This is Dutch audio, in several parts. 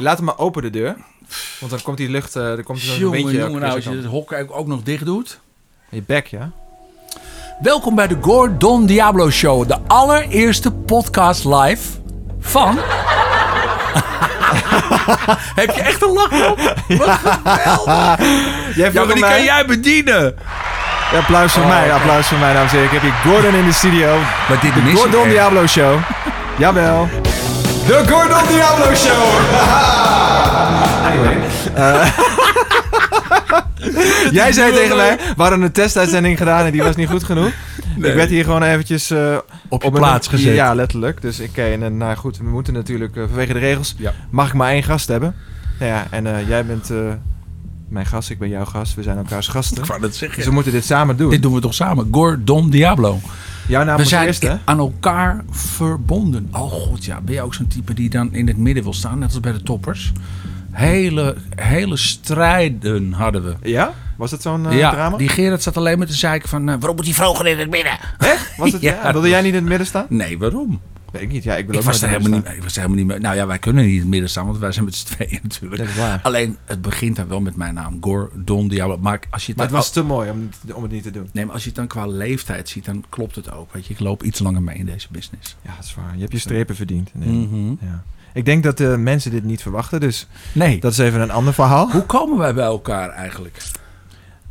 laat hem maar open de deur. Want dan komt die lucht, eh dan komt er zo'n Jongen, beetje... jongen, nou, als je het hok ook, ook nog dicht doet. Je bek, ja? Welkom bij de Gordon Diablo Show. De allereerste podcast live van... Heb je echt een lach op? Jij Ja, maar die kan jij bedienen. Ja, applaus voor mij, applaus voor mij, dames en heren. Ik heb hier Gordon in de studio. Maar dit De mis Eh. ik Gordon echt. Diablo Show. Jawel. De Gordon Diablo Show. Eh, Jij zei tegen mij, we hadden een testuitzending gedaan en die was niet goed genoeg. Ik werd hier gewoon eventjes... eh, op je een- plaats gezet. Ja, letterlijk. Dus ik en eh, nou goed, we moeten natuurlijk eh, vanwege de regels... Ja. mag ik maar één gast hebben. Nou ja, en eh, jij bent eh, mijn gast, ik ben jouw gast. We zijn elkaars gasten. Ik wou dat zeggen. Dus we moeten dit samen doen. Dit doen we toch samen? Gordon Diablo. Jouw naam We was zijn eerst, hè? aan elkaar verbonden. Oh god, ja. Ben je ook zo'n type die dan in het midden wil staan? Net als bij de toppers. Hele, hele strijden hadden we. Ja? Was dat zo'n eh, ja, drama? die Gerard zat alleen met de zeiken van... eh, waarom moet die vroger in het midden? Echt? Was het, Ja. ja. Wilde jij niet in het midden staan? Nee, waarom? Weet ik niet. Ja, ik wil Ik ook was, er maar in het helemaal midden niet, ik was er helemaal niet mee. Nou ja, wij kunnen niet in het midden staan, want wij zijn met z'n tweeën natuurlijk. Dat is waar. Alleen, het begint dan wel met mijn naam. Gordon Diablo. Maar als je staan. Maar het dan- was te mooi om, om het niet te doen. Nee, maar als je het dan qua leeftijd ziet, dan klopt het ook. Weet je, ik loop iets langer mee in deze business. Ja, Mm-hmm. dat is waar. Je hebt je strepen verdiend. Nee. Ja. Ik denk dat de mensen dit niet verwachten, dus Nee. dat is even een ander verhaal. Hoe komen wij bij elkaar eigenlijk?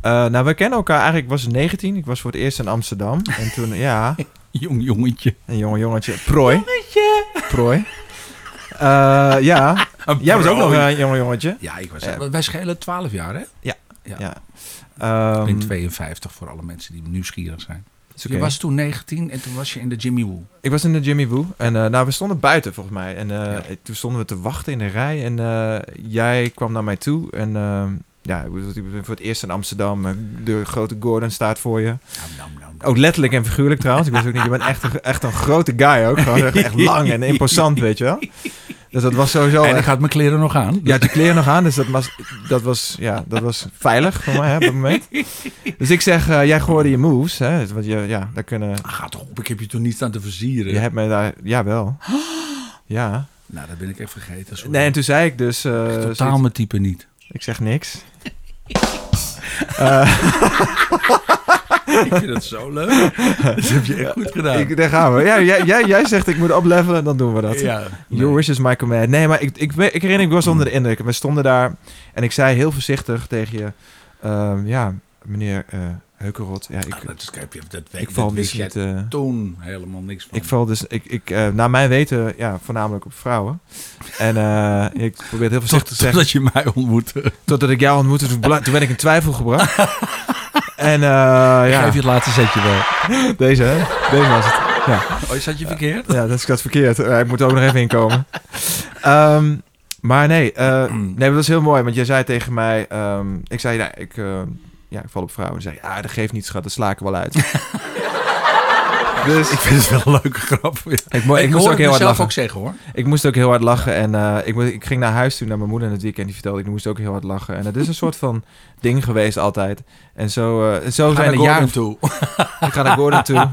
Eh, nou, we kennen elkaar eigenlijk. Ik was 19. Ik was voor het eerst in Amsterdam. En toen, ja, Jong jongetje. een jonge jongetje. Prooi. Prooi. Eh, ja, jij was ook nog eh, Um. een jonge jongetje. Ja, ik was... Ja. Wij schelen 12 jaar, hè? Ja. Ja. Ik Ehm, ben 52 voor alle mensen die nieuwsgierig zijn. is Je oké. was toen 19 en toen was je in de Jimmy Woo. Ik was in de Jimmy Woo. En eh, nou, we stonden buiten volgens mij. En eh, Ja. toen stonden we te wachten in de rij. En eh, jij kwam naar mij toe. En eh, ja, ik bedoel, ik ben voor het eerst in Amsterdam. Eh, De grote Gordon staat voor je. Nou, nou, nou, nou. Ook letterlijk en figuurlijk trouwens. Ik wist ook niet, je bent echt een, echt een grote guy ook. Gewoon echt, echt lang en imposant, weet je wel. Dus dat was sowieso... en ik echt- had mijn kleren nog aan. je had je kleren nog aan, dus dat was, dat was, ja, dat was veilig voor mij hè, op dat moment. Dus ik zeg, eh, jij gooide je moves. Hè, want je, ja, daar kunnen, Ah, Ga toch op, ik heb je toen niet staan te versieren. je hebt mij daar... Jawel. Ja. Nou, dat ben ik echt vergeten. sorry. Nee, en toen zei ik dus... eh, Echt zoiets- totaal mijn type niet. Ik zeg niks. ik vind dat zo leuk. Dat heb je echt goed gedaan. Ik, daar gaan we. Ja, jij, jij, jij zegt ik moet oplevelen, dan doen we dat. ja. Your wish is my command. Nee, maar ik, ik, we- ik herinner ik was onder de indruk. We stonden daar en ik zei heel voorzichtig tegen je... ehm, ja, meneer eh Heukerot. Ja, ik, Ah, dat, is, kijk, dat, dat, ik weet- val dat wist dus jij niet... eh, toen helemaal niks van. ik val dus... Ik, ik, eh, naar mijn weten, ja, voornamelijk op vrouwen. En eh, ik probeer het heel Tot, voorzichtig te zeggen. totdat je mij ontmoette. Totdat ik jou ontmoette, toen, bla- toen werd ik in twijfel gebracht. en eh, ja, Geef je het laatste zetje wel. deze, hè? Deze was het. Ja. Oh, zat je verkeerd? Ja, dat is dat verkeerd. Eh, Ik moet er ook nog even inkomen. Ehm, maar nee, eh, nee, maar dat is heel mooi. Want jij zei tegen mij... ehm, ik zei, nou, ik, eh, ja, ik val op vrouwen. En zei, je, ah, dat geeft niet, schat. Dat sla ik er wel uit. dus Ik vind het wel een leuke grap. ik, mo- ik moest ook heel hard zelf lachen. ook zeggen hoor. Ik moest ook heel hard lachen. En eh, ik, mo- ik ging naar huis toen naar mijn moeder in het weekend. Die vertelde, ik moest ook heel hard lachen. En het is een soort van ding geweest altijd. En zo, eh, zo zijn er jaren... toe. Ik ga naar Gordon toe.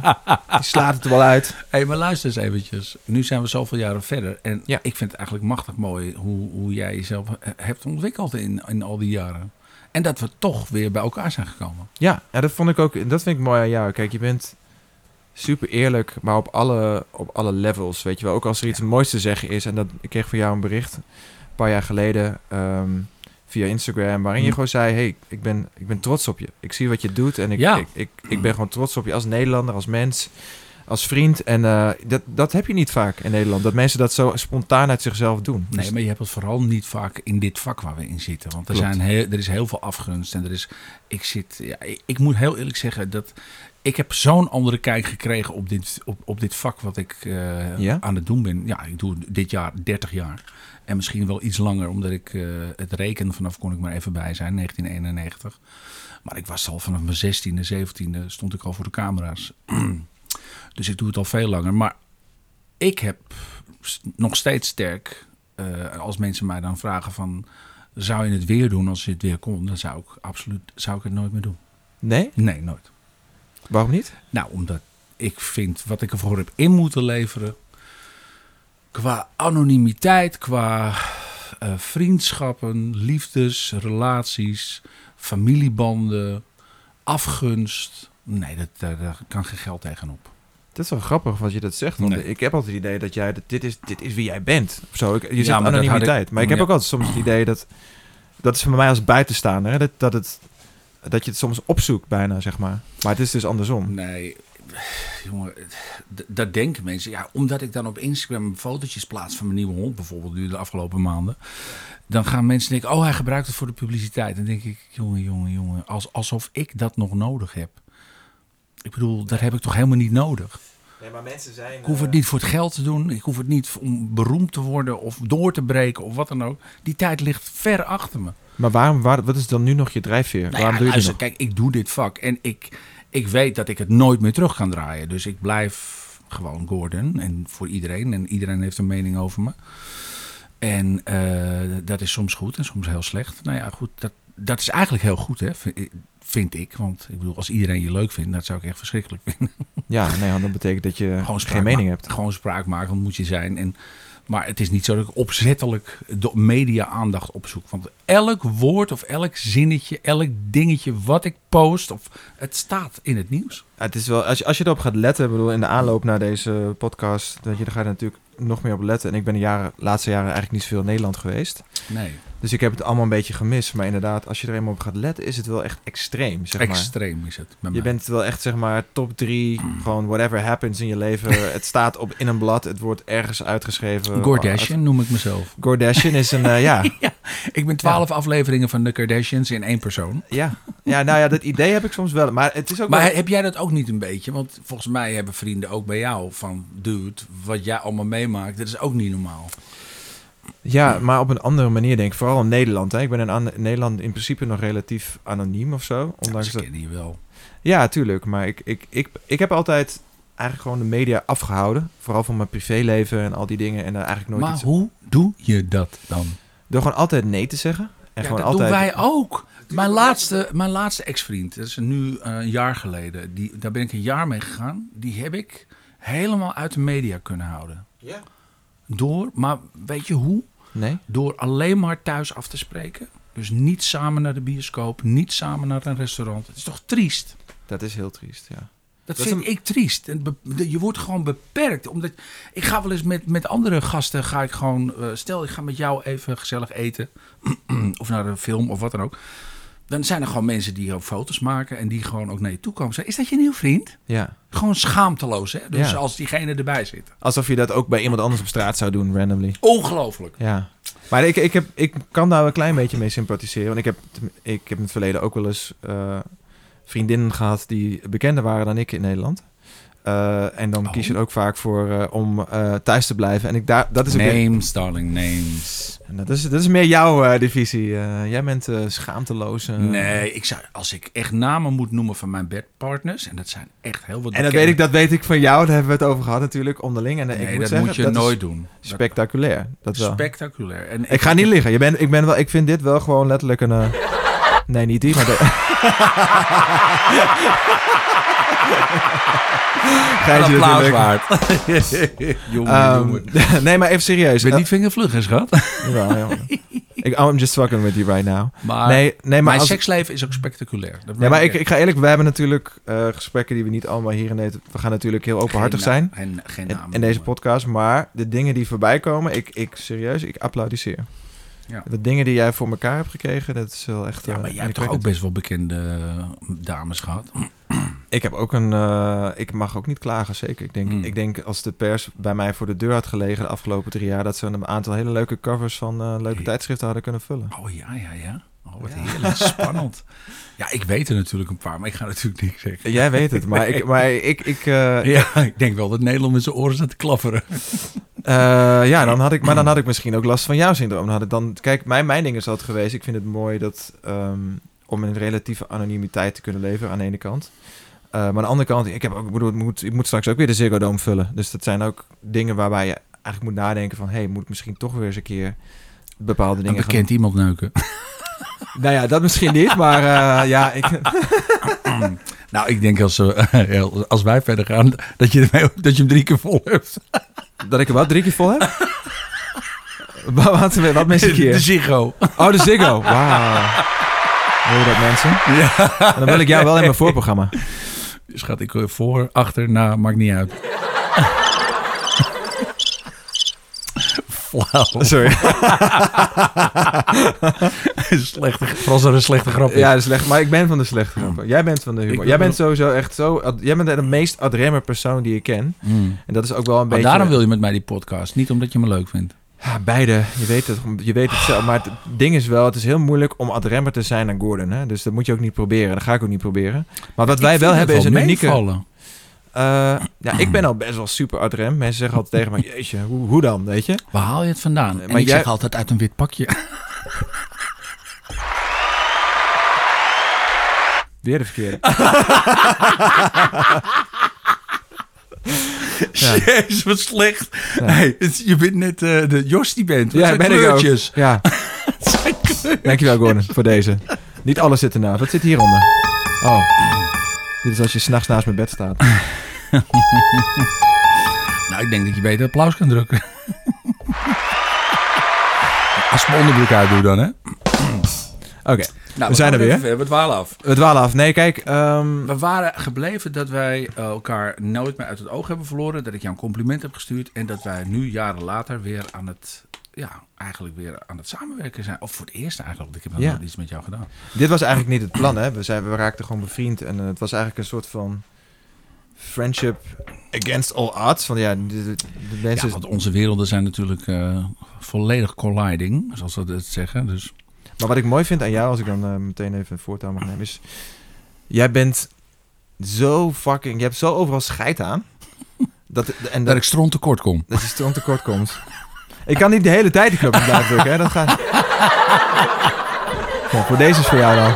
Die slaat het er wel uit. Hé, maar luister eens eventjes. Nu zijn we zoveel jaren verder. En Ja. ik vind het eigenlijk machtig mooi hoe, hoe jij jezelf eh, hebt ontwikkeld in, in al die jaren. En dat we toch weer bij elkaar zijn gekomen. Ja, ja, dat vond ik ook. Dat vind ik mooi aan jou. Kijk, je bent super eerlijk, maar op alle, op alle levels. Weet je wel, ook als er iets moois te zeggen is. En dat ik kreeg van jou een bericht een paar jaar geleden ehm, via Instagram, waarin je Hm. gewoon zei: Hey, ik ben, ik ben trots op je. Ik zie wat je doet en ik, Ja. ik, ik, ik ben gewoon trots op je als Nederlander, als mens. Als vriend. En eh, dat, dat heb je niet vaak in Nederland. Dat mensen dat zo spontaan uit zichzelf doen. Dus- Nee, maar je hebt het vooral niet vaak in dit vak waar we in zitten. Want er, Klopt. zijn heel, er is heel veel afgunst. En er is, ik, zit, ja, ik, ik moet heel eerlijk zeggen dat ik heb zo'n andere kijk gekregen op dit, op, op dit vak wat ik eh, Ja? aan het doen ben. Ja, ik doe dit jaar 30 jaar. En misschien wel iets langer, omdat ik eh, het rekenen vanaf kon ik maar even bij zijn, 1991. Maar ik was al vanaf mijn 16e, 17e stond ik al voor de camera's. dus ik doe het al veel langer. Maar ik heb s- nog steeds sterk, eh, als mensen mij dan vragen van... zou je het weer doen als je het weer kon? Dan zou ik absoluut zou ik het nooit meer doen. nee? Nee, nooit. Waarom niet? Nou, omdat ik vind wat ik ervoor heb in moeten leveren... qua anonimiteit, qua eh, eh, vriendschappen, liefdes, relaties, familiebanden, afgunst. Nee, dat, daar, daar kan geen geld tegenop. Het is wel grappig wat je dat zegt. Want Nee. ik heb altijd het idee dat jij... Dat dit, is, dit is wie jij bent. Of zo. Ik, je zegt maar dat had ik- anonimiteit. maar ik heb ja. ook altijd soms het idee dat... Dat is voor mij als buitenstaander. Hè, dat, dat, het, dat je het soms opzoekt bijna, zeg maar. Maar het is dus andersom. Nee, jongen, d- dat denken mensen. Ja, omdat ik dan op Instagram fotootjes plaats van mijn nieuwe hond, bijvoorbeeld nu de afgelopen maanden. Dan gaan mensen denken, oh hij gebruikt het voor de publiciteit. Dan denk ik, jongen, jongen, jongen, als, alsof ik dat nog nodig heb. Ik bedoel, dat heb ik toch helemaal niet nodig. Nee, maar mensen zijn... eh, Ik hoef het niet voor het geld te doen. Ik hoef het niet om beroemd te worden of door te breken of wat dan ook. Die tijd ligt ver achter me. Maar waarom, waar, wat is dan nu nog je drijfveer? Nou waarom ja, doe je luister, dit kijk, ik doe dit vak en ik, ik weet dat ik het nooit meer terug kan draaien. Dus ik blijf gewoon Gordon en voor iedereen. En iedereen heeft een mening over me. En eh, dat is soms goed en soms heel slecht. Nou ja, goed, dat, dat is eigenlijk heel goed, hè, v- vind ik. Want ik bedoel, als iedereen je leuk vindt, dat zou ik echt verschrikkelijk vinden. nog? Ja, nee, want dat betekent dat je Gewoon geen mening hebt. Gewoon spraakmakend moet je zijn. En, maar het is niet zo dat ik opzettelijk de media-aandacht opzoek. Want elk woord of elk zinnetje, elk dingetje wat ik post, of, het staat in het nieuws. Ja, het is wel, als, je, als je erop gaat letten, ik bedoel, in de aanloop naar deze podcast, dat je, daar ga je natuurlijk nog meer op letten. En ik ben de jaren, laatste jaren eigenlijk niet zoveel in Nederland geweest. Nee, Dus ik heb het allemaal een beetje gemist. Maar inderdaad, als je er eenmaal op gaat letten, is het wel echt extreem. Zeg maar. extreem is het. Met Je mij. bent wel echt, zeg maar, top drie. Gewoon whatever happens in je leven. het staat op, in een blad. Het wordt ergens eh, uitgeschreven. Kardashian noem ik mezelf. Gordashian is een, eh, ja, Ik ben twaalf afleveringen van de Kardashians in één persoon. ja. Ja, nou ja, dat idee heb ik soms wel. Maar het is ook wel- Maar heb jij dat ook niet een beetje? Want volgens mij hebben vrienden ook bij jou van... dude, wat jij allemaal meemaakt, dat is ook niet normaal. Ja, maar op een andere manier denk ik. Vooral in Nederland. Hè. Ik ben in An- Nederland in principe nog relatief anoniem of zo. Ondanks Ze dat... kennen je wel. Ja, tuurlijk. Maar ik, ik, ik, ik heb altijd eigenlijk gewoon de media afgehouden. Vooral van mijn privéleven en al die dingen. En daar eigenlijk nooit Maar iets... hoe doe je dat dan? Door gewoon altijd nee te zeggen. En Ja, gewoon dat altijd... doen wij ook. Mijn laatste, mijn laatste ex-vriend, dat is nu eh, een jaar geleden. Die, daar ben ik een jaar mee gegaan. Die heb ik helemaal uit de media kunnen houden. Ja. Door, maar weet je hoe? Nee? Door alleen maar thuis af te spreken. Dus niet samen naar de bioscoop, niet samen naar een restaurant. Het is toch triest? Dat is heel triest, ja. Dat, Dat is vind ik triest. En be- de- Je wordt gewoon beperkt. Omdat, ik ga wel eens met, met andere gasten, ga ik gewoon, eh, stel ik ga met jou even gezellig eten. of naar een film of wat dan ook. Dan zijn er gewoon mensen die ook foto's maken en die gewoon ook naar je toe komen. Zeggen, is dat je nieuw vriend? Ja. Gewoon schaamteloos, hè? Dus Ja. als diegene erbij zit. Alsof je dat ook bij iemand anders op straat zou doen, randomly. Ongelooflijk. Ja. Maar ik, ik, heb, ik kan daar wel een klein beetje mee sympathiseren. Want ik heb, ik heb in het verleden ook wel eens eh, vriendinnen gehad die bekender waren dan ik in Nederland. Eh, en dan Oh. kies je er ook vaak voor eh, om eh, thuis te blijven. En ik daar, dat is ook weer- Names, darling, names. en dat, is, dat is meer jouw eh, divisie. Eh, jij bent eh, schaamteloos. eh. Nee, ik zou, als ik echt namen moet noemen van mijn bedpartners, en dat zijn echt heel wat En dat bekende- weet, ik, dat weet ik van jou, daar hebben we het over gehad natuurlijk, onderling. En eh, ik Nee, moet dat zeggen, moet je dat is nooit doen. Dat- spectaculair. Dat wel. Spectaculair. En ik ga niet liggen. Je bent, ik, ben wel, ik vind dit wel gewoon letterlijk een... eh, Nee, niet die, maar... de- Geintje Een applaus natuurlijk. waard. dus, eh, jongen, Ehm, jongen. nee, maar even serieus. Ik ben niet vingervlug, hè, schat. Eh, jawel, jawel. ik, oh, I'm just fucking with you right now. Maar nee, nee, maar, mijn als, seksleven is ook spectaculair. Dat nee, maar merk ik, ik ga eerlijk... We hebben natuurlijk eh, gesprekken die we niet allemaal hier in Nederland... We gaan natuurlijk heel openhartig Geen zijn na- En geen in, namen in deze noemen. podcast. Maar de dingen die voorbij komen... Ik, ik serieus, ik applaudisseer. Ja. De dingen die jij voor elkaar hebt gekregen... Dat is wel echt... Ja, eh, maar jij hebt toch ook indrukwekkend. best wel bekende eh, dames gehad? Ik heb ook een. eh, ik mag ook niet klagen, zeker. Ik denk, Hmm. ik denk als de pers bij mij voor de deur had gelegen de afgelopen drie jaar, dat ze een aantal hele leuke covers van eh, leuke Hey. tijdschriften hadden kunnen vullen. Oh ja, ja, ja. Oh, wat heerlijk. Spannend. Ja, ik weet er natuurlijk een paar, maar ik ga natuurlijk niks zeggen. Jij weet het, maar ik. Maar ik, ik eh, Ja, ik denk wel dat Nederland met zijn oren staat te klapperen. eh, ja, dan had ik. Maar dan had ik misschien ook last van jouw syndroom. Dan had ik dan, kijk, mijn, mijn ding is altijd geweest. Ik vind het mooi dat. ehm, om in relatieve anonimiteit te kunnen leven, aan de ene kant. Eh, maar aan de andere kant, ik, heb ook, ik, bedoel, ik, moet, ik moet straks ook weer de Ziggo Dome vullen. Dus dat zijn ook dingen waarbij je eigenlijk moet nadenken van... hé, hey, moet ik misschien toch weer eens een keer bepaalde Een dingen gaan bekend iemand neuken. Nou ja, dat misschien niet, maar eh, ja, ik, Nou, ik denk als, eh, als wij verder gaan, dat je, ermee- dat je hem drie keer vol hebt. dat ik er wel drie keer vol heb. wat, wat mis ik De hier? Ziggo. Oh, de Ziggo. Wauw. Hoor je dat, mensen? En dan wil ik jou wel in mijn voorprogramma. Dus gaat ik eh, voor, achter, na, maakt niet uit. Flauw. Sorry. Slechte, vooral als er een slechte grap is. Ja, de slecht, maar ik ben van de slechte grappen. Jij bent van de humor. Ik- Jij bent sowieso echt zo... ad- jij bent de meest adremmer persoon die ik ken. Mm. En dat is ook wel een Maar beetje... daarom wil je met mij die podcast. Niet omdat je me leuk vindt. Ja, beide. Je weet het, je weet het zelf. Maar het ding is wel, het is heel moeilijk om adremmer te zijn dan Gordon. Hè? Dus dat moet je ook niet proberen. Dat ga ik ook niet proberen. Maar wat wij Ik wel vind het hebben is een unieke... meevallen. Eh, ja, ik ben al best wel super adrem. Mensen zeggen altijd tegen me, jeetje, hoe, hoe dan, weet je? Waar haal je het vandaan? Nee, en maar ik jij- zeg altijd uit een wit pakje. Weer de verkeerde. Ja. Jezus, wat slecht. Ja. Hey, het- je bent net eh, de Jos die bent. Wat zijn ben kleurtjes? ik ook. Ja, Het zijn kleur- dankjewel Gordon voor deze. Niet alles zit ernaast. Wat zit hieronder? Oh, dit is als je s'nachts naast mijn bed staat. Nou, ik denk dat je beter applaus kan drukken. Als ik mijn onderbroek uitdoe dan, hè? Oké, we zijn er weer. Nou, We dwalen af. We dwalen af. Nee, kijk. ehm, We waren gebleven dat wij eh, elkaar nooit meer uit het oog hebben verloren. Dat ik jou een compliment heb gestuurd. En dat wij nu jaren later weer aan het... Ja, eigenlijk weer aan het samenwerken zijn. Of voor het eerst eigenlijk. want Ik heb nog Ja. nooit iets met jou gedaan. dit was eigenlijk niet het plan, hè. We, zijn, we raakten gewoon bevriend. En eh, het was eigenlijk een soort van friendship against all odds. Van ja, de, de- de mensen... Ja, want onze werelden zijn natuurlijk eh, volledig colliding. Zoals we dat zeggen. Dus Maar wat ik mooi vind aan jou, als ik dan eh, meteen even het voortouw mag nemen, is... Jij bent zo fucking... Je hebt zo overal scheid aan. Dat, en dat dat, ik stront tekort kom. dat je stroom tekort komt. Ik kan niet de hele tijd de knop blijven drukken, hè. Dat gaat... Nou, voor deze is voor jou dan.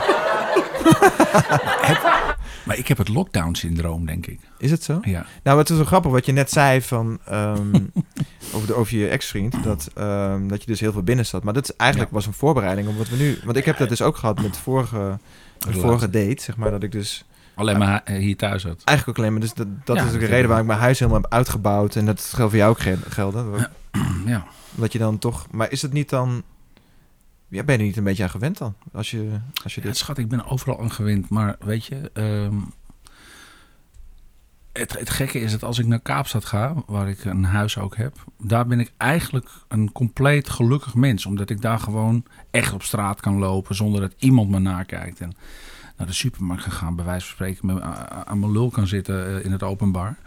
Maar ik heb het lockdown-syndroom, denk ik. Is het zo? Ja. Nou, het is wel grappig wat je net zei van, ehm, over, de, over je ex-vriend. Dat, ehm, dat je dus heel veel binnen zat. Maar dat is eigenlijk was een voorbereiding op wat we nu... Want ik heb dat dus ook gehad met de vorige, de Relatie. vorige date, zeg maar. Dat ik dus... Alleen maar eh, hier thuis had. Eigenlijk ook alleen maar. Dus dat, dat Ja, is ook de dat reden heb waarom ik mijn huis helemaal heb uitgebouwd. En dat geldt voor jou ook gel- gelden. Dat- Ja. Dat je dan toch... Maar is het niet dan... Ja, ben je er niet een beetje aan gewend dan? Als je, als je Ja, dit... schat, ik ben overal aan gewend. Maar weet je, ehm, het, het gekke is dat als ik naar Kaapstad ga, waar ik een huis ook heb, daar ben ik eigenlijk een compleet gelukkig mens. Omdat ik daar gewoon echt op straat kan lopen zonder dat iemand me nakijkt. En naar de supermarkt kan gaan, bij wijze van spreken, met- a- aan mijn lul kan zitten eh, in het openbaar.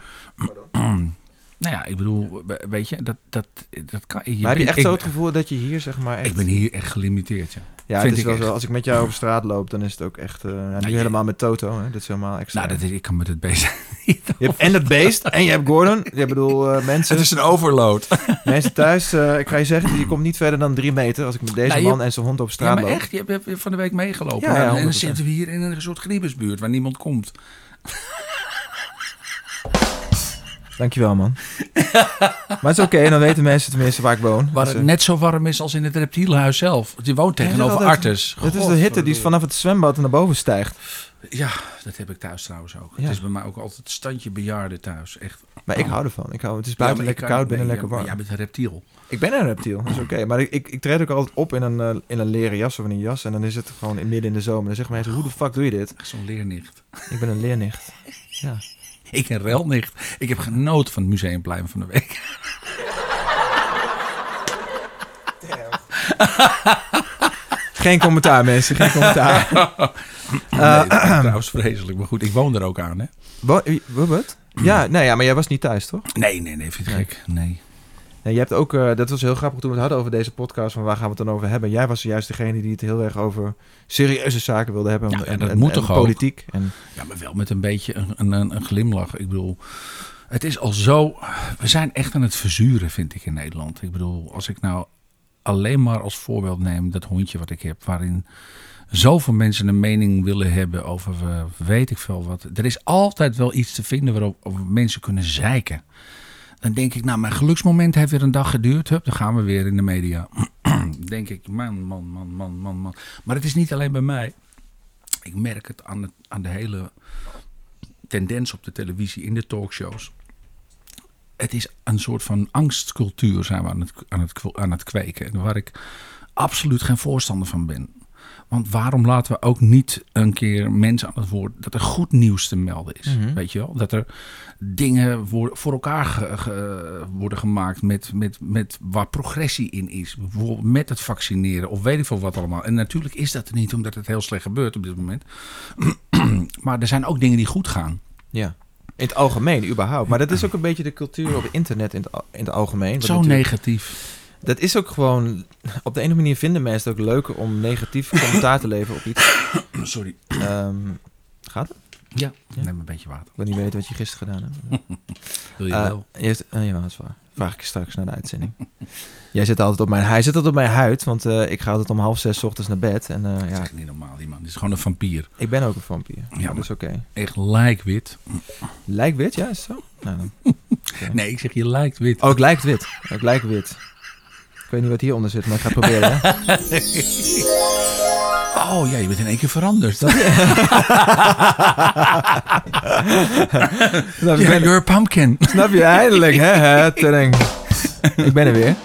nou ja, ik bedoel, we- weet je, dat, dat, dat kan... maar heb je bent- echt ik, zo het gevoel dat je hier zeg maar echt... Ik ben hier echt gelimiteerd, ja. ja, het vind is ik wel echt. zo. Als ik met jou over straat loop, dan is het ook echt... eh, ja, nu je- helemaal met Toto, hè? Dat is helemaal extra. Nou, dat is, ik kan met het bezig. je hebt en dat beest en je hebt Gordon. Je bedoel, eh, mensen, een overload. mensen thuis, eh, ik ga je zeggen, je komt niet verder dan drie meter als ik met deze Nou, je- man en zijn hond op Ja, straat maar loop. echt, je hebt- je hebt van de week meegelopen. Ja, ja, en dan 100%. zitten we hier in een soort griebesbuurt waar niemand komt. Dankjewel, man. maar het is oké, dan weten mensen tenminste waar ik woon. Waar Dus, het eh, net zo warm is als in het reptielenhuis zelf. Want je woont Ja, tegenover dat- Artes. Het is de hitte die vanaf het zwembad naar boven stijgt. Ja, dat heb ik thuis trouwens ook. Ja. Het is bij mij ook altijd standje bejaarden thuis. Echt. Maar ik hou ervan. Ik hou, het is buiten Oh. Ja, maar lekker ik kan- koud, binnen nee, lekker ja, maar warm. Jij bent een reptiel. dus Ik ben een reptiel, dat is oké. Maar ik, ik, ik treed ook altijd op in een, eh, in een leren jas of in een jas. En dan is het gewoon in, midden in de zomer. Dan zeggen mensen, hoe de fuck doe je dit? Echt zo'n leernicht. Ik ben een leernicht. Ja. Ik een relnicht. Ik heb genoten van het museumplein van de week. Geen commentaar, mensen. Geen commentaar. nee, dat is trouwens vreselijk. Maar goed, ik woon er ook aan, hè? Wo- eh, Wat? wat? Ja, nee, ja, maar jij was niet thuis, toch? Nee, nee, nee. Vind ik Nee. gek. Nee. Nee, je hebt ook, eh, dat was heel grappig toen we het hadden over deze podcast. Van waar gaan we het dan over hebben? Jij was juist degene die het heel erg over serieuze zaken wilde hebben. Ja, en, en dat en- moet en toch ook? politiek. En, Ja, maar wel met een beetje een, een, een, een glimlach. Ik bedoel, het is al zo. We zijn echt aan het verzuren, vind ik, in Nederland. Ik bedoel, als ik nou alleen maar als voorbeeld neem dat hondje wat ik heb, waarin zoveel mensen een mening willen hebben over eh, weet ik veel wat. Er is altijd wel iets te vinden waarop over mensen kunnen zeiken. Dan denk ik, nou, mijn geluksmoment heeft weer een dag geduurd. Hup, dan gaan we weer in de media. denk ik, man, man, man, man, man, man. Maar het is niet alleen bij mij. Ik merk het aan, het aan de hele tendens op de televisie, in de talkshows. het is een soort van angstcultuur zijn we aan het, aan het, aan het kweken. Waar ik absoluut geen voorstander van ben. Want waarom laten we ook niet een keer mensen aan het woord dat er goed nieuws te melden is? Mhm. Weet je wel? Dat er dingen voor, voor elkaar ge- ge- worden gemaakt met, met, met waar progressie in is. Bijvoorbeeld met het vaccineren of weet ik veel wat allemaal. En natuurlijk is dat er niet, omdat het heel slecht gebeurt op dit moment. maar er zijn ook dingen die goed gaan. Ja. In het algemeen, überhaupt. Maar dat is ook een beetje de cultuur op internet in het, al- in het algemeen. wat Zo natuurlijk- negatief. Dat is ook gewoon... Op de ene manier vinden mensen het ook leuker om negatief commentaar te leveren op iets. Sorry. Ehm, gaat het? Ja, Ja. neem een beetje water. Ik wil niet weten wat je gisteren gedaan hebt. Wil je Eh, wel? je hebt- eh, ja, dat is waar. Vraag ik je straks na de uitzending. Jij zit altijd op mijn, hij zit altijd op mijn huid, want eh, ik ga altijd om half zes 's ochtends naar bed. En eh, Dat is ja, echt niet normaal, die man. Dit is gewoon een vampier. ik ben ook een vampier. Ja, dat is oké. Echt lijkt wit. Lijkt wit, ja, is het zo? Nou, dan. Nee, ik zeg je lijkt wit. Oh, ik lijkt wit. Ik lijkt wit. Ik weet niet wat hieronder zit, maar ik ga het proberen. Hè? Oh ja, je bent in één keer veranderd. Dat, Snap je, You're- you're a pumpkin. snap je eindelijk, hè? hè Tering. Ik ben er weer.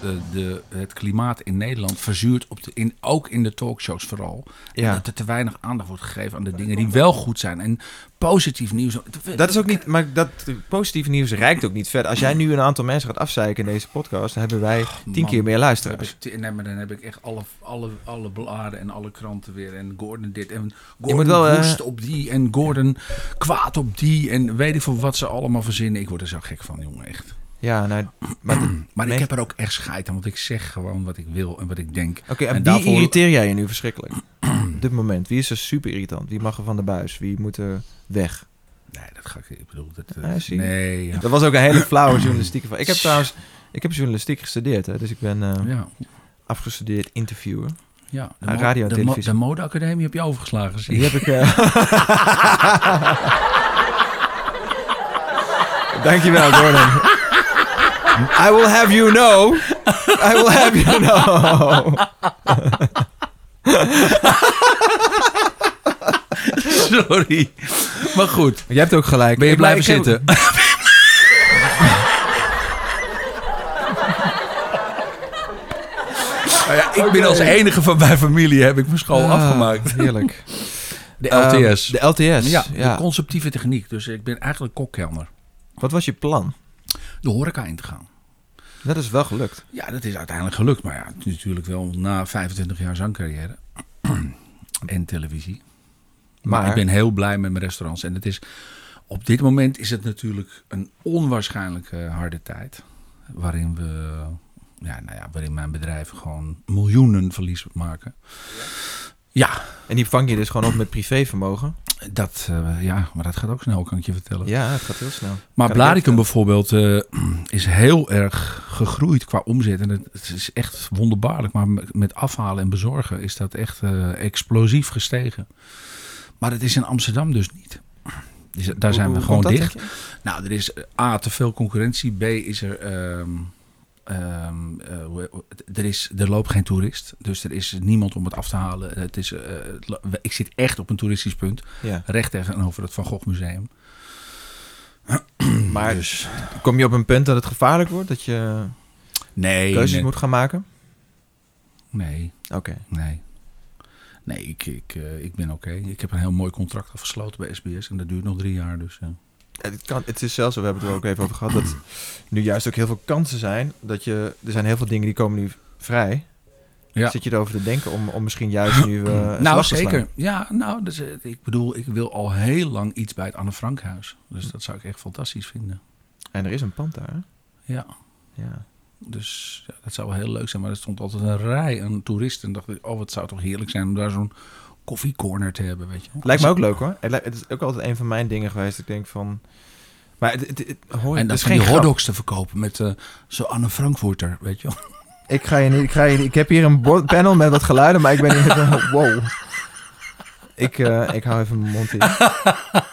De, de, het klimaat in Nederland verzuurt, op de, in, ook in de talkshows vooral. En Ja. Dat er te weinig aandacht wordt gegeven aan de dingen die wel goed zijn. En positief nieuws. Dat is ook niet, maar dat positieve nieuws reikt ook niet verder. Als jij nu een aantal mensen gaat afzeiken in deze podcast, dan hebben wij tien man. keer meer Dan heb luisteraars. ik, t- nee, maar dan heb ik echt alle, alle, alle bladen en alle kranten weer. En Gordon dit. En moet Gordon wel, eh, woest op die. En Gordon kwaad op die. En weet ik veel wat ze allemaal verzinnen. Ik word er zo gek van, jongen, echt. Ja, nou, maar Maar Nee. ik heb er ook echt scheid aan. Want ik zeg gewoon wat ik wil en wat ik denk. Oké, en, En wie daarvoor- irriteer jij je nu verschrikkelijk? Op dit moment. Wie is er super irritant? Wie mag er van de buis? Wie moet er weg? Nee, dat ga ik... Ik bedoel, dat... eh, Ja, zie je. nee, ja. Dat was ook een hele flauwe journalistieke vraag. Ik heb trouwens... Ik heb journalistiek gestudeerd, hè, dus ik ben eh, Ja, afgestudeerd interviewer. ja. De, Ah, mo- radio en de, televisie. de modeacademie heb je overgeslagen, zie Die ik. heb ik... eh Dankjewel, Gordon. I will have you know. I will have you know. Sorry. Maar goed. Je hebt ook gelijk. Ben je Ik- maar blijven ik heb- zitten? Nou ja, ik ben als enige van mijn familie heb ik mijn school Ah, afgemaakt. Heerlijk. De LTS. Ehm, de LTS. ja, Ja, de conceptieve techniek. Dus ik ben eigenlijk kokkelner. Wat was je plan? De horeca in te gaan. Dat is wel gelukt. Ja, dat is uiteindelijk gelukt. Maar ja, het is natuurlijk wel na 25 jaar zangcarrière en televisie. Maar, Maar- ik ben heel blij met mijn restaurants. En het is, op dit moment is het natuurlijk een onwaarschijnlijke harde tijd. Waarin we, ja, nou ja, waarin mijn bedrijven gewoon miljoenen verlies maken. Ja, En die vang je dus gewoon op met privévermogen. dat, eh, ja, maar dat gaat ook snel, kan ik je vertellen. Ja, het gaat heel snel. Maar Kan ik Blaricum even- bijvoorbeeld eh, is heel erg gegroeid qua omzet. En het, het is echt wonderbaarlijk. Maar met- met afhalen en bezorgen is dat echt eh, explosief gestegen. Maar het is in Amsterdam dus niet. Dus daar Hoe- zijn hoe komt we gewoon dat, dicht. denk je? Nou, er is A, te veel concurrentie. B, is er... ehm, ehm, eh, hoe- hoe- er, is, er loopt geen toerist. Dus er is niemand om het af te halen. Het is, eh, het lo- ik zit echt op een toeristisch punt. Ja, Recht tegenover het Van Gogh Museum. maar dus, kom je op een punt dat het gevaarlijk wordt? Dat je nee, keuzes nee, moet gaan maken? nee. Oké. Nee. Nee, ik, ik, eh, ik ben oké. Ik heb een heel mooi contract afgesloten bij SBS en dat duurt nog drie jaar. Dus, eh. Het, kan, het is zelfs, we hebben het er ook even over gehad, dat nu juist ook heel veel kansen zijn. Dat je, er zijn heel veel dingen die komen nu vrij. Ja. Zit je erover te denken om, om misschien juist nu... eh, een nou, slag te zeker. slaan? Ja, nou, dus, eh, ik bedoel, ik wil al heel lang iets bij het Anne Frankhuis. Hm. Dus dat zou ik echt fantastisch vinden. En er is een pand daar. hè? Ja, Ja. dus ja, dat zou wel heel leuk zijn. Maar er stond altijd een rij aan toeristen. En dacht ik, oh, wat zou toch heerlijk zijn om daar zo'n koffiecorner te hebben, weet je wel. Lijkt me ook leuk hoor. Het, lijkt- het is ook altijd een van mijn dingen geweest. Ik denk van... Maar het, het, het- hoor, En het dat is van geen die grap. hotdogs te verkopen met eh, zo'n Anne Frankfurter, weet je wel. Ik ga je niet, ik ga je niet- ik heb hier een bo- panel met wat geluiden, maar ik ben niet, wow. Ik, eh, ik hou even mijn mond in. dat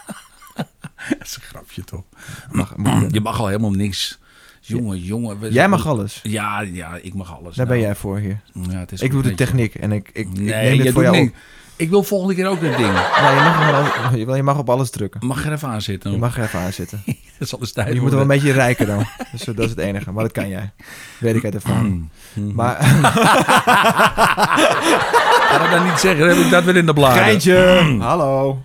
is een grapje toch. Mag, moet ik- Je mag al helemaal niks. Jongen, jongen. we- Hm. jij mag alles. Ja, ja, ik mag alles. Daar ben Nou, jij voor hier. Ja, het is Ik een doe de beetje- techniek en ik, ik, ik Nee, neem jij dit voor doet jou niks. op. Ik wil volgende keer ook dat ding. Nee, je, mag gewoon alles- jawel, je mag op alles drukken. Mag er even aan zitten. Je hoor. mag er even aan zitten. Het zal eens tijd Je moet wel worden. een beetje rijker dan. Dus dat is het enige. Maar dat kan jij. Weet ik uit ervaring. Hmm. Mm. Maar Ga dat dan niet zeggen, dan heb ik dat weer in de bladen. geintje. Hallo.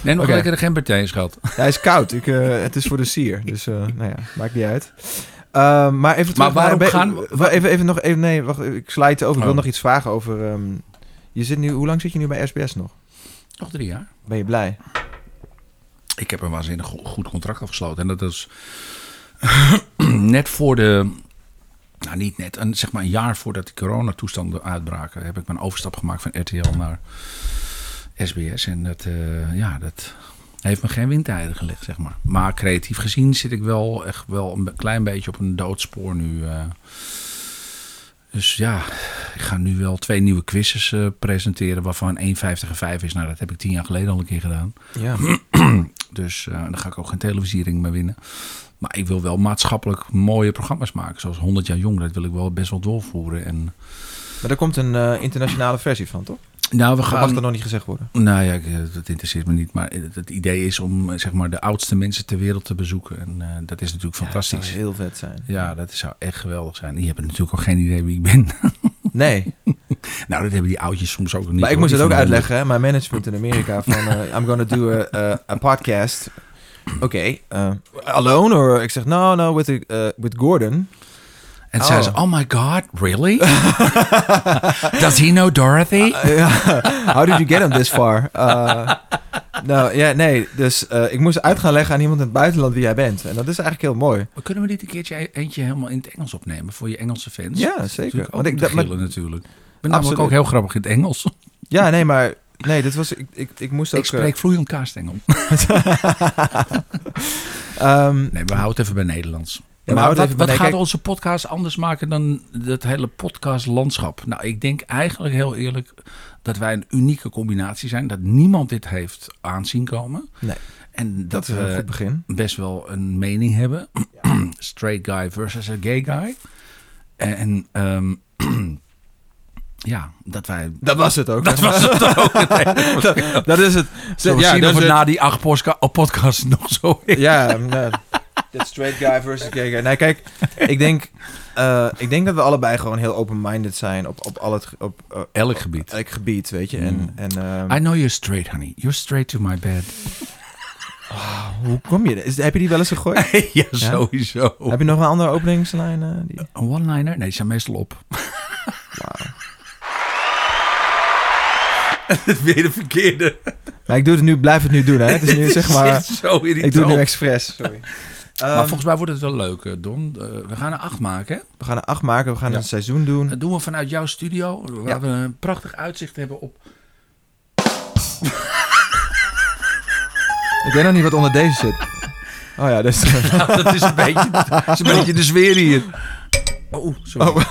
Nee, nog Oké. lekker de gemberthee, schat. Ja, hij is koud. Ik, eh, het is voor de sier. Dus eh, nou ja, maakt niet uit. Eh, maar even terug Maar waarom naar- gaan- wa- Even, even nog... Even, nee, wacht. Ik slijt over. Ik wil Oh. nog iets vragen over... ehm, je zit nu, hoe lang zit je nu bij SBS nog? Nog drie jaar. Ben je blij? Ik heb een waanzinnig go- goed contract afgesloten. En dat is net voor de... Nou, niet net. Een, zeg maar een jaar voordat die coronatoestanden uitbraken... heb ik mijn overstap gemaakt van RTL naar SBS. En dat, eh, ja, dat heeft me geen windtijden gelegd, zeg maar. Maar creatief gezien zit ik wel echt wel een klein beetje op een doodspoor nu. eh. Dus ja, ik ga nu wel twee nieuwe quizzes eh, presenteren... waarvan 1,50 en 5 is. Nou, dat heb ik tien jaar geleden al een keer gedaan. Ja. Dus eh dan ga ik ook geen televisiering meer winnen. Maar ik wil wel maatschappelijk mooie programma's maken. Zoals 100 jaar jong, dat wil ik wel best wel doorvoeren. En, Maar er komt een eh, internationale versie van, toch? nou, we Dat mag gaan... er nog niet gezegd worden. Nou ja, ik- dat interesseert me niet. Maar het, het idee is om eh, zeg maar, de oudste mensen ter wereld te bezoeken. En eh, dat is natuurlijk Ja, dat fantastisch. zou heel vet zijn. Ja, dat zou echt geweldig zijn. Die hebben natuurlijk ook geen idee wie ik ben. Nee, Nou, dat hebben die oudjes soms ook nog niet. maar ik hoor. moest Die het ook vinden dat uitleggen. hè. Mijn management in Amerika van... eh, I'm gonna do a, a, a podcast. Oké, eh, alone? Or, ik zeg, no, no, with, the, eh, with Gordon. leuk. En zeiden ze, oh my god, really? Does he know Dorothy? Eh, Ja, How did you get him this far? Eh, nou, ja, nee. Dus eh, ik moest uit gaan leggen aan iemand in het buitenland wie jij bent. En dat is eigenlijk heel mooi. Maar Kunnen we dit een keertje e- eentje helemaal in het Engels opnemen voor je Engelse fans? Ja, zeker. Want ik dat- dacht maar- natuurlijk. Ik ben namelijk Absoluut. ook heel grappig in het Engels. ja, nee, maar... Nee, dit was... Ik, ik, ik moest ook... Ik spreek vloeiend kaastengel. eh, ehm, Nee, we houden het even bij Nederlands. we maar houden het wat, even bij- wat nee, gaat kijk- onze podcast anders maken dan dat hele podcastlandschap? Nou, ik denk eigenlijk heel eerlijk dat wij een unieke combinatie zijn. Dat niemand dit heeft aanzien komen. Nee. En dat dat, eh, is een we goed begin. best wel een mening hebben. Straight guy versus a gay guy. En ehm, ja, dat wij Dat was het ook. Dat was het ook. dat, dat is het. Zullen we ja, zien dat of is het het. na die acht postka- oh, podcasts nog zo is? Ja, nou, dat straight guy versus gay guy. Nee, kijk, ik denk, eh, ik denk dat we allebei gewoon heel open-minded zijn op, op, al het, ge- op, eh, Elk gebied. elk gebied, weet je. En, Mm. en ehm, I know you're straight, honey. You're straight to my bed. hoe kom je? er- Is, heb je die wel eens gegooid? ja, sowieso. Heb je nog een andere openingslijn? eh, die... Een one-liner? Nee, die zijn meestal op. Wow. Weer de verkeerde. Maar ik doe het nu, blijf het nu doen, hè? Het is nu, zeg Dit maar, is zo ik doe het nu irritant. expres. Sorry. Maar Ehm, volgens mij wordt het wel leuk, eh, Don. Eh, we gaan er acht maken. hè? we gaan er acht maken, we gaan Ja. een seizoen doen. Dat doen we vanuit jouw studio. Waar Ja. we een prachtig uitzicht hebben op... Ik weet nog niet wat onder deze zit. Oh ja, dus... Nou, dat is een beetje, dat is een beetje de sfeer hier. Oh, sorry.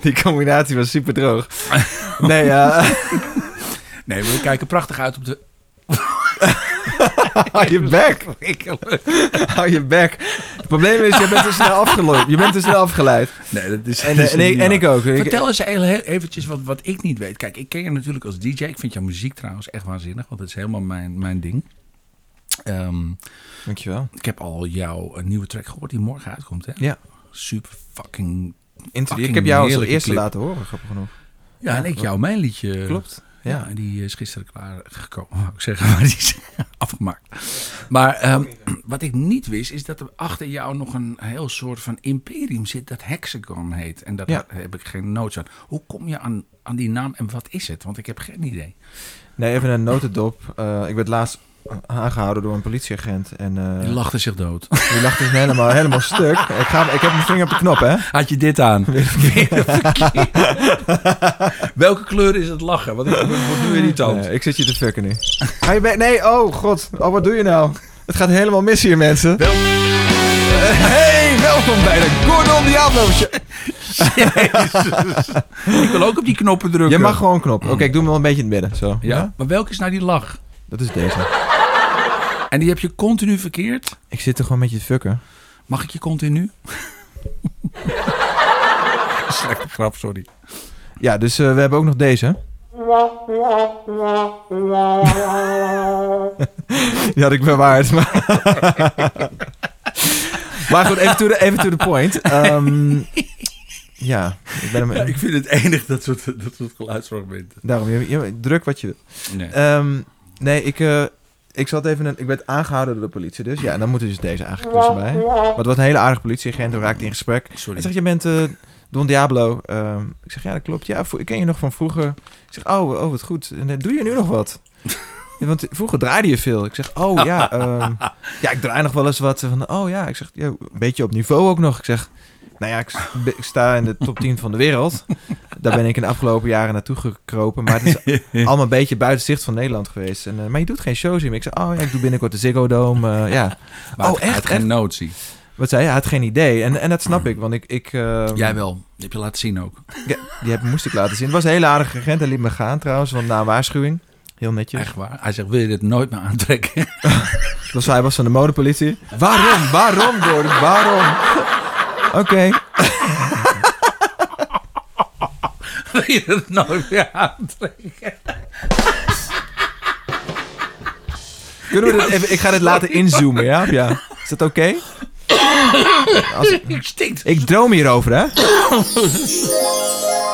die combinatie was super droog. Nee, eh, ja, Nee, we kijken prachtig uit op de... hou je bek. Verwikkelen. Hou je bek. Het probleem is, je bent te snel afgeleid. Je bent te snel afgeleid. Nee, dat is... En, eh, en, ik, en ik ook. Ik- Vertel eens heel- heel eventjes wat, wat ik niet weet. Kijk, ik ken je natuurlijk als DJ. Ik vind jouw muziek trouwens echt waanzinnig. Want dat is helemaal mijn, mijn ding. Ehm, Dankjewel. ik heb al jouw eh, nieuwe track gehoord die morgen uitkomt, hè? Ja. Super fucking... Intro- ik Fucking heb jou als de heerlijke eerste clip. laten horen, grappig genoeg. Ja, en ik klopt. jou mijn liedje. Klopt. Ja, Ja. en die is gisteren klaargekomen, wou ik zeggen. Maar die is afgemaakt. Maar ehm, wat ik niet wist, is dat er achter jou nog een heel soort van imperium zit dat Hexagon heet. En dat Ja. heb ik geen nood aan. Hoe kom je aan, aan die naam en wat is het? Want ik heb geen idee. Nee, even een notendop. Eh, ik werd laatst aangehouden door een politieagent. En, eh, Je lachte zich dood. Die lag dus helemaal, helemaal stuk. Ik, ga, ik heb mijn vinger op de knop, hè? Had je dit aan? Weer verkeerd. Welke kleur is het lachen? Want ik word nu irritant. Nee, ik zit je te fucken nu. Ga je bij... Nee, oh god. Oh, wat doe je nou? Het gaat helemaal mis hier, mensen. Wel- Eh, hey, welkom bij de Gordon Diablo Show. Jezus. Ik wil ook op die knoppen drukken. Je mag gewoon knoppen. Oké, ik doe hem wel een beetje in het midden. Zo. Ja, maar welke is nou die lach? Dat is deze. En die heb je continu verkeerd? Ik zit er gewoon met je te fucken. Mag ik je continu? Slechte grap, sorry. Ja, dus eh, we hebben ook nog deze. Die had ik bewaard. Maar, maar goed, even to the, even to the point. Ehm, ja, ik ben hem... Ja, ik vind het enig dat soort, dat soort geluidsfragmenten. Eh, Daarom, je, je- druk wat je wil. Nee. Ehm, nee, ik, eh, ik zat even. Een, ik werd aangehouden door de politie, dus ja, en dan moeten dus deze eigenlijk tussenbij. Maar het was een hele aardige politieagent, we raakten in gesprek. Hij Sorry. zegt: Je bent eh, Don Diablo. Ehm, ik zeg: Ja, dat klopt. Ja, vo- ik ken je nog van vroeger. Ik zeg: Oh, oh wat goed. En, eh, doe je nu nog wat? Ja, Want vroeger draaide je veel. Ik zeg, oh ja, ehm, ja, ik draai nog wel eens wat. Van, oh ja, ik zeg, ja, een beetje op niveau ook nog. Ik zeg, nou ja, ik, s- be- ik sta in de top 10 van de wereld. Daar ben ik in de afgelopen jaren naartoe gekropen. Maar het is allemaal een beetje buiten zicht van Nederland geweest. En, eh, maar je doet geen shows meer. Ik zeg, oh ja, ik doe binnenkort de Ziggo Dome. eh, ja. Maar Oh, het- hij echt, had geen notie. Wat zei je? Hij had geen idee. En, en dat snap ik, want ik... ik ehm, Jij wel. Die heb je laten zien ook. Ja, die heb, moest ik laten zien. Het was een hele aardige agent. Hij liet me gaan trouwens, want na een waarschuwing. Heel netjes. Echt waar. Hij zegt, wil je dit nooit meer aantrekken? Dat was, hij was van de modepolitie. Waarom? Waarom, Gordon? Waarom? Oké. wil je dit nooit meer aantrekken? Kunnen we dit even... Ik ga dit laten inzoomen, ja? ja. Is dat oké? Als- Ik stink. Ik droom hierover, hè?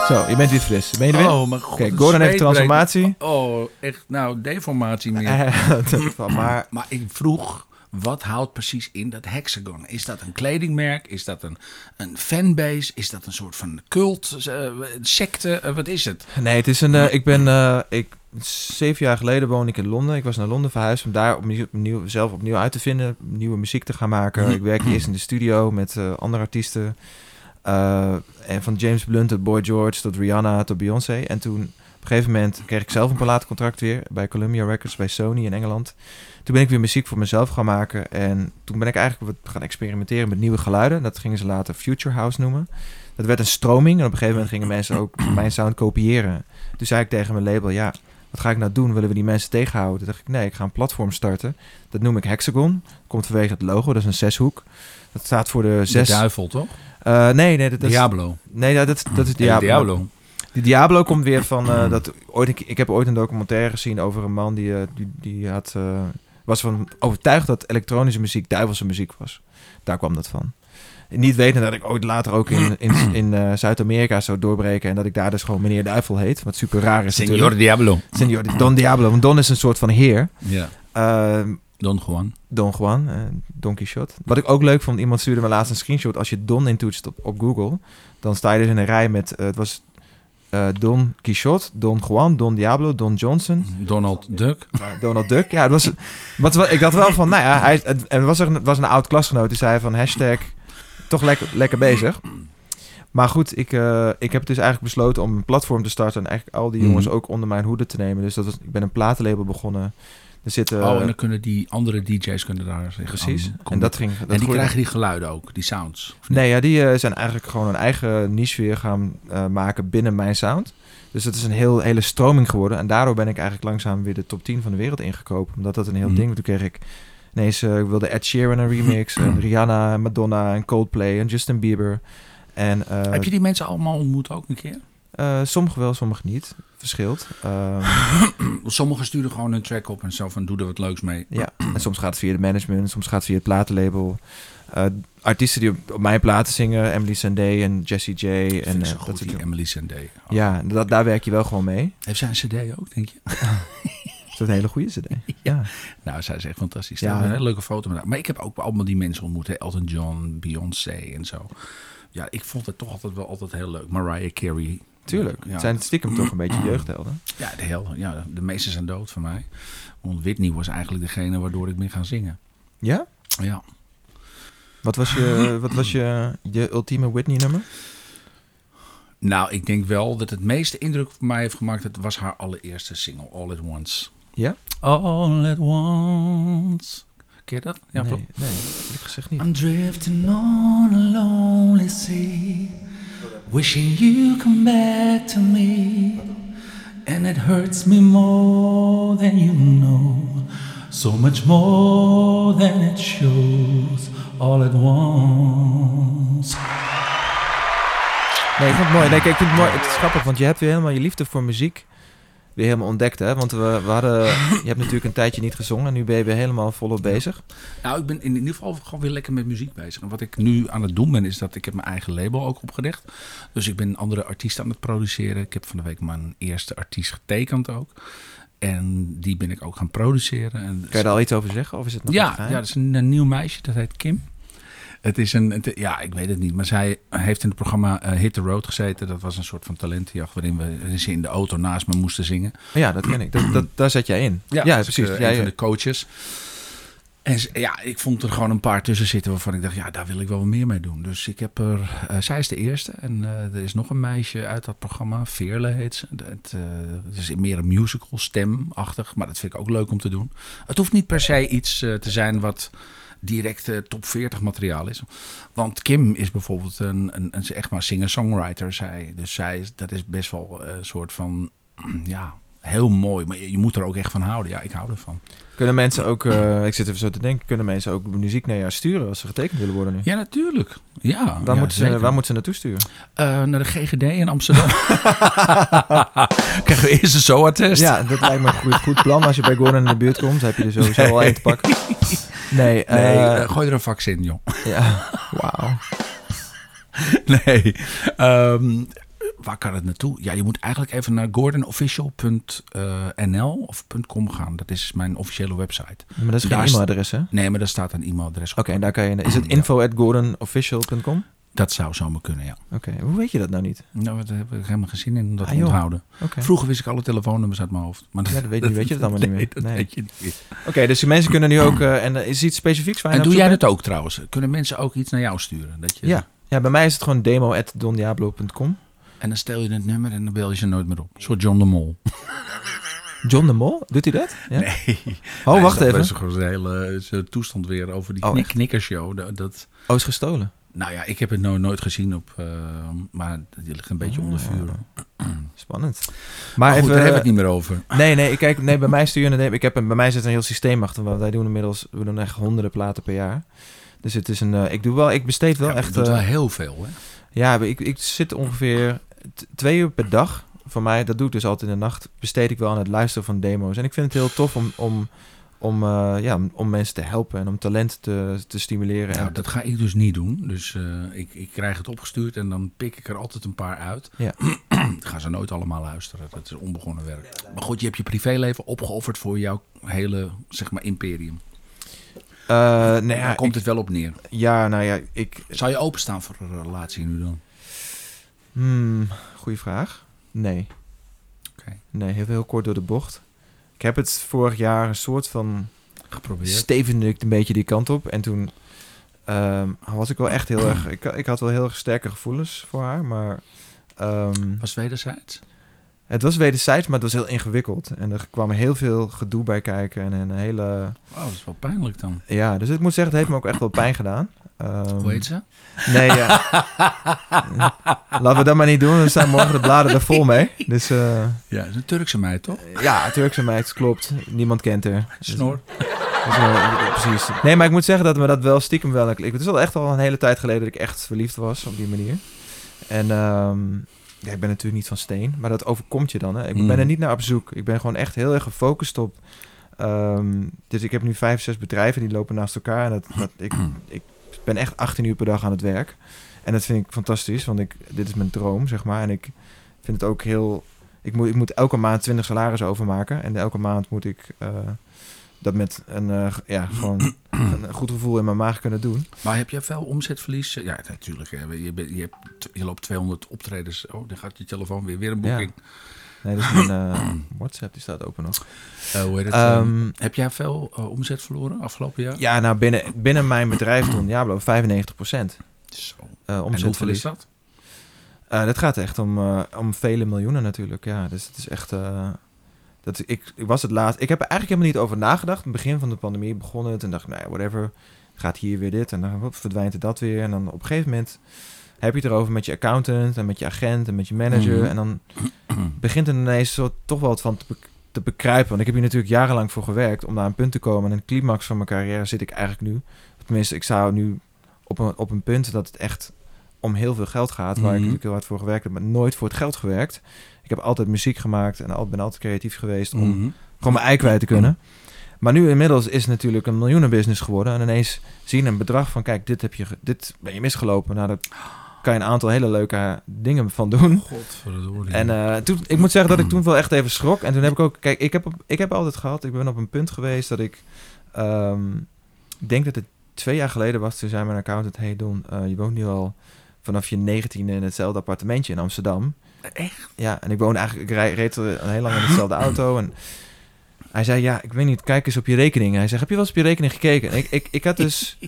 Zo, je bent weer fris. Ben je er weer? Oh, mijn god. Oké, een Gordon heeft zweetbreed. transformatie. Oh, echt. Nou, deformatie meer. Eh, dat wel, maar Maar ik vroeg, wat houdt precies in dat hexagon? Is dat een kledingmerk? Is dat een, een fanbase? Is dat een soort van cult, eh, een secte? Eh, wat is het? nee, het is een. eh, ik ben. eh, ik, zeven jaar geleden woonde ik in Londen. Ik was naar Londen verhuisd om daar opnieuw, opnieuw, zelf opnieuw uit te vinden. Nieuwe muziek te gaan maken. Ik werkte eerst in de studio met eh, andere artiesten. Eh, en van James Blunt tot Boy George tot Rihanna tot Beyoncé. En toen op een gegeven moment kreeg ik zelf een platencontract weer bij Columbia Records, bij Sony in Engeland. Toen ben ik weer muziek voor mezelf gaan maken. En toen ben ik eigenlijk wat gaan experimenteren met nieuwe geluiden. Dat gingen ze later Future House noemen. Dat werd een stroming. En op een gegeven moment gingen mensen ook mijn sound kopiëren. Toen zei ik tegen mijn label, ja, wat ga ik nou doen? Willen we die mensen tegenhouden? Toen dacht ik, nee, ik ga een platform starten. Dat noem ik Hexagon. Komt vanwege het logo, dat is een zeshoek. Dat staat voor de zes... De duivel, toch? Eh, nee, nee, dat, dat is... Diablo. Nee, ja, dat, dat is Ja, Diablo. Diablo. Die Diablo komt weer van... eh, dat, ooit, ik, ik heb ooit een documentaire gezien over een man die, eh, die, die had, eh, was van overtuigd dat elektronische muziek duivelse muziek was. Daar kwam dat van. Niet weten dat ik ooit later ook in, in, in eh, Zuid-Amerika zou doorbreken... en dat ik daar dus gewoon meneer Duivel heet. Wat super raar is Senor natuurlijk. Diablo. Senor Don Diablo. Want Don is een soort van heer. Ja. Ehm, Don Juan. Don Juan, eh, Don Quixote. Wat ik ook leuk vond, iemand stuurde me laatst een screenshot. Als je Don intoetst op, op Google, dan sta je dus in een rij met... eh, het was eh, Don Quixote, Don Juan, Don Diablo, Don Johnson, Donald Duck. Eh, Donald Duck. Ja, het was, wat, wat, ik dacht wel van, nou ja, hij, het, er was, er een, het was een oud klasgenoot die zei van hashtag toch lekker, lekker bezig. Maar goed, ik, eh, ik heb dus eigenlijk besloten om een platform te starten... en eigenlijk al die jongens Mhm. ook onder mijn hoede te nemen. Dus dat was, ik ben een platenlabel begonnen. Er zitten... oh, en dan kunnen die andere DJ's kunnen daar zich Precies. aan En koppelen. dat ging... Dat en die groeide. krijgen die geluiden ook, die sounds. Of niet? Nee, ja, die eh, zijn eigenlijk gewoon een eigen niche weer gaan eh, maken binnen mijn sound. Dus dat is een heel, hele stroming geworden. En daardoor ben ik eigenlijk langzaam weer de top 10 van de wereld ingekropen. Omdat dat een heel Mm. ding... Toen kreeg ik ineens... eh, ik wilde Ed Sheeran een remix. en Rihanna, en Madonna, en Coldplay, en Justin Bieber. En eh, Heb je die mensen allemaal ontmoet ook een keer? eh, sommige wel, sommige niet. Verschilt. Ehm, Sommigen sturen gewoon een track op en zo van doe er wat leuks mee. ja. En soms gaat het via de management. Soms gaat het via het platenlabel. Eh, artiesten die op, op mijn platen zingen. Emily Sandé en Jessie J. En, En, eh, zo dat goed, soort die dingen. Emily Sandé. Oh. Ja, dat, daar werk je wel gewoon mee. Heeft zij een cd ook, denk je? Dat is een hele goede CD. Ja. Nou, zij is echt fantastisch. Ja. Ja. Een hele leuke foto. met haar. Maar ik heb ook allemaal die mensen ontmoet. Hè? Elton John, Beyoncé en zo. Ja, ik vond het toch altijd wel altijd heel leuk. Mariah Carey. Tuurlijk. Ja, Het zijn stiekem toch een beetje jeugdhelden. ja, de, hel, ja de meesten zijn dood van mij. Want Whitney was eigenlijk degene waardoor ik ben gaan zingen. Ja? Ja. Wat was je, wat was je, je ultieme Whitney-nummer? Nou, ik denk wel dat het meeste indruk op mij heeft gemaakt... dat was haar allereerste single, All At Once. Ja? All At Once. Ken je dat? Ja, toch? nee, nee, eerlijk gezegd niet. I'm drifting on a lonely sea, wishing you come back to me. And it hurts me more than you know, so much more than it shows all at once. Nee, ik vond het mooi. Nee, kijk, ik vind het mooi. Het is grappig, want je hebt weer helemaal je liefde voor muziek. weer helemaal ontdekt, hè? Want we, we hadden, je hebt natuurlijk een tijdje niet gezongen en nu ben je weer helemaal volop bezig. Nou, ik ben in ieder geval gewoon weer lekker met muziek bezig. En wat ik nu aan het doen ben, is dat ik heb mijn eigen label ook opgericht. Dus ik ben andere artiesten aan het produceren. Ik heb van de week mijn eerste artiest getekend ook. En die ben ik ook gaan produceren. En Kan je daar al iets over zeggen? Of is het nog een ja, ja, geheim? dat is een, een nieuw meisje, dat heet Kim. Het is een, het- ja, ik weet het niet, maar zij heeft in het programma eh, Hit the Road gezeten. Dat was een soort van talentenjacht waarin we waarin ze in de auto naast me moesten zingen. ja, dat ken ik. Dat, dat, daar zat jij in. Ja, dat is, precies. eh, Jij, een van de coaches. En ze- ja, ik vond er gewoon een paar tussen zitten waarvan ik dacht, ja, daar wil ik wel wat meer mee doen. Dus ik heb er, eh, zij is de eerste en eh, er is nog een meisje uit dat programma, Veerle heet ze. Het, eh, het is meer een musical, stemachtig, maar dat vind ik ook leuk om te doen. Het hoeft niet per se iets eh, te zijn wat direct eh, top 40 materiaal is. Want Kim is bijvoorbeeld een, een, een ze is echt maar singer-songwriter. Zij, dus zij is, dat is best wel eh, een soort van, ja, heel mooi. Maar je, je moet er ook echt van houden. Ja, ik hou ervan. Kunnen mensen ook, eh, ik zit even zo te denken, kunnen mensen ook muziek naar jou sturen als ze getekend willen worden nu? Ja, natuurlijk. Ja, Waar, ja, moeten ze, zeker. waar moeten ze naartoe sturen? Eh, naar de GGD in Amsterdam. Krijgen we eerst een SOA-test. Ja, dat lijkt me een goed, goed plan. Als je bij Gordon in de buurt komt, heb je er sowieso al één te pakken. Nee, eh Nee, eh, gooi er een vaccin, joh. ja. Wauw. nee. Ehm, waar kan het naartoe? Ja, je moet eigenlijk even naar gordonofficial.nl of .com gaan. Dat is mijn officiële website. Maar dat is geen Daar is- e-mailadres, hè? Oké, Nee, maar daar staat een e-mailadres op. en daar kan je... Is het Ja. info at gordonofficial.com? Dat zou zomaar kunnen, ja. Oké, hoe weet je dat nou niet? Nou, daar heb ik helemaal geen zin in om dat Ah, te joh. onthouden. Oké, Vroeger wist ik alle telefoonnummers uit mijn hoofd. Maar Ja, dat weet je- weet je dat allemaal niet meer. Nee, dat Nee. weet je niet meer. Oké, dus die mensen kunnen nu ook... eh, en eh, is iets specifieks waar je En naar doe op jij zoek dat ook trouwens? Kunnen mensen ook iets naar jou sturen? Dat je, bent? Ja. ja, bij mij is het gewoon demo at dondiablo.com. En dan stel je het nummer en dan bel je ze nooit meer op. Een soort John de Mol. John de Mol, doet hij dat? Ja? Nee. Oh, wacht Dat even. is gewoon zijn hele zijn toestand weer over die Oh, knik- echt? knikkershow. Dat, dat, Oh, is gestolen. nou ja, ik heb het nou nooit gezien op... eh, maar die ligt een beetje onder Ah. vuur. Spannend. Maar, Maar goed, even... daar hebben we het niet meer over. Nee, nee, ik kijk, nee, bij mij stuur je een demo. Ik heb een, bij mij zit een heel systeem achter, want wij doen inmiddels, we doen echt honderden platen per jaar. Dus het is een, eh, ik doe wel, ik besteed wel Ja, echt, je doet eh, wel heel veel, hè? ja, ik, ik zit ongeveer t- twee uur per dag. Voor mij, dat doe ik dus altijd in de nacht, besteed ik wel aan het luisteren van demo's. En ik vind het heel tof om, om, om, eh, ja, om- om mensen te helpen en om talent te, te stimuleren. Nou, en, dat ga ik dus niet doen. Dus eh, ik, ik krijg het opgestuurd en dan pik ik er altijd een paar uit. Ja. Ik ga ze nooit allemaal luisteren. Dat is onbegonnen werk. Maar goed, je hebt je privéleven opgeofferd voor jouw hele zeg maar, imperium. Eh, nee, Daar ja, komt ik- het wel op neer. ja, nou ja, ik, Zou je openstaan voor een relatie nu dan? Hmm, goeie vraag. Nee. Oké. Nee, heel, heel kort door de bocht. Ik heb het vorig jaar een soort van... Geprobeerd. stevende ik een beetje die kant op. En toen ehm, was ik wel echt heel erg... Ik, ik had wel heel erg sterke gevoelens voor haar, maar... ehm, Was wederzijds? het was wederzijds, maar het was heel ingewikkeld. En er kwam heel veel gedoe bij kijken en een hele... Oh, dat is wel pijnlijk dan. Ja, dus ik moet zeggen, het heeft me ook echt wel pijn gedaan. Ehm, Hoe heet ze? Nee, ja. Laten we dat maar niet doen, dan staan morgen de bladen er vol mee. Dus eh, Ja, dat is een Turkse meid toch? ja, Turkse meid, klopt. Niemand kent haar. Dus- Snor. Dus, eh, precies. Nee, maar ik moet zeggen dat me dat wel stiekem wel... Ik, het is al echt al een hele tijd geleden dat ik echt verliefd was op die manier. En ehm, ja, ik ben natuurlijk niet van steen, maar dat overkomt je dan. Hè? Ik Mm. ben er niet naar op zoek. Ik ben gewoon echt heel erg gefocust op... ehm, dus ik heb nu vijf, zes bedrijven die lopen naast elkaar. En dat, dat, ik, ik ben echt 18 uur per dag aan het werk. En dat vind ik fantastisch, want ik, dit is mijn droom, zeg maar. En ik vind het ook heel... Ik moet, ik moet elke maand 20 salaris overmaken. En elke maand moet ik eh, dat met een, eh, g- ja, gewoon een goed gevoel in mijn maag kunnen doen. Maar heb jij veel omzetverlies? Ja, natuurlijk. hè. Je, bent- je, hebt, je loopt 200 optredens. Oh, dan gaat je telefoon weer. Weer een Ja. boeking. Nee, dat is mijn eh, WhatsApp, die staat open nog. Eh, hoe heet het? Ehm, Heb jij veel eh, omzet verloren afgelopen jaar? ja, nou, binnen, binnen mijn bedrijf, Don Diablo, 95 procent. eh, Zo. en hoeveel is omzetverlies. dat? Eh, dat gaat echt om, eh, om vele miljoenen natuurlijk. Ja, dus het is echt. eh, dat, ik, ik was het laatst. Ik heb er eigenlijk helemaal niet over nagedacht. In het begin van de pandemie begon het. En dacht, ik, nou ja, whatever. Gaat hier weer dit. En dan hop, verdwijnt het dat weer. En dan op een gegeven moment heb je het erover met je accountant. En met je agent. En met je manager. Mhm. En dan begint er ineens zo, toch wel wat van te, bek- te bekruipen. Want ik heb hier natuurlijk jarenlang voor gewerkt. Om naar een punt te komen. En een climax van mijn carrière zit ik eigenlijk nu. Tenminste, ik zou nu op een, op een punt dat het echt om heel veel geld gaat. Waar ik Mhm. natuurlijk heel hard voor gewerkt heb, maar nooit voor het geld gewerkt. Ik heb altijd muziek gemaakt en al, ben altijd creatief geweest om Mhm. gewoon mijn ei kwijt te kunnen. Maar nu inmiddels is het natuurlijk een miljoenenbusiness geworden. En ineens zien een bedrag van, kijk, dit, heb je, ge- dit ben je misgelopen. Nou, daar kan je een aantal hele leuke dingen van doen. Godverdorie. En eh, toen, ik moet zeggen dat ik toen wel echt even schrok. En toen heb ik ook, kijk, ik heb, op- ik heb altijd gehad, ik ben op een punt geweest dat ik, ehm, ik denk dat het twee jaar geleden was. Toen zei mijn accountant, hey Don, eh, je woont nu al vanaf je 19 in hetzelfde appartementje in Amsterdam. Echt? Ja, en ik woonde eigenlijk, ik rij- reed al heel lang in dezelfde auto. En hij zei, ja, ik weet niet, kijk eens op je rekening. Hij zegt, heb je wel eens op je rekening gekeken? En ik, ik, ik had dus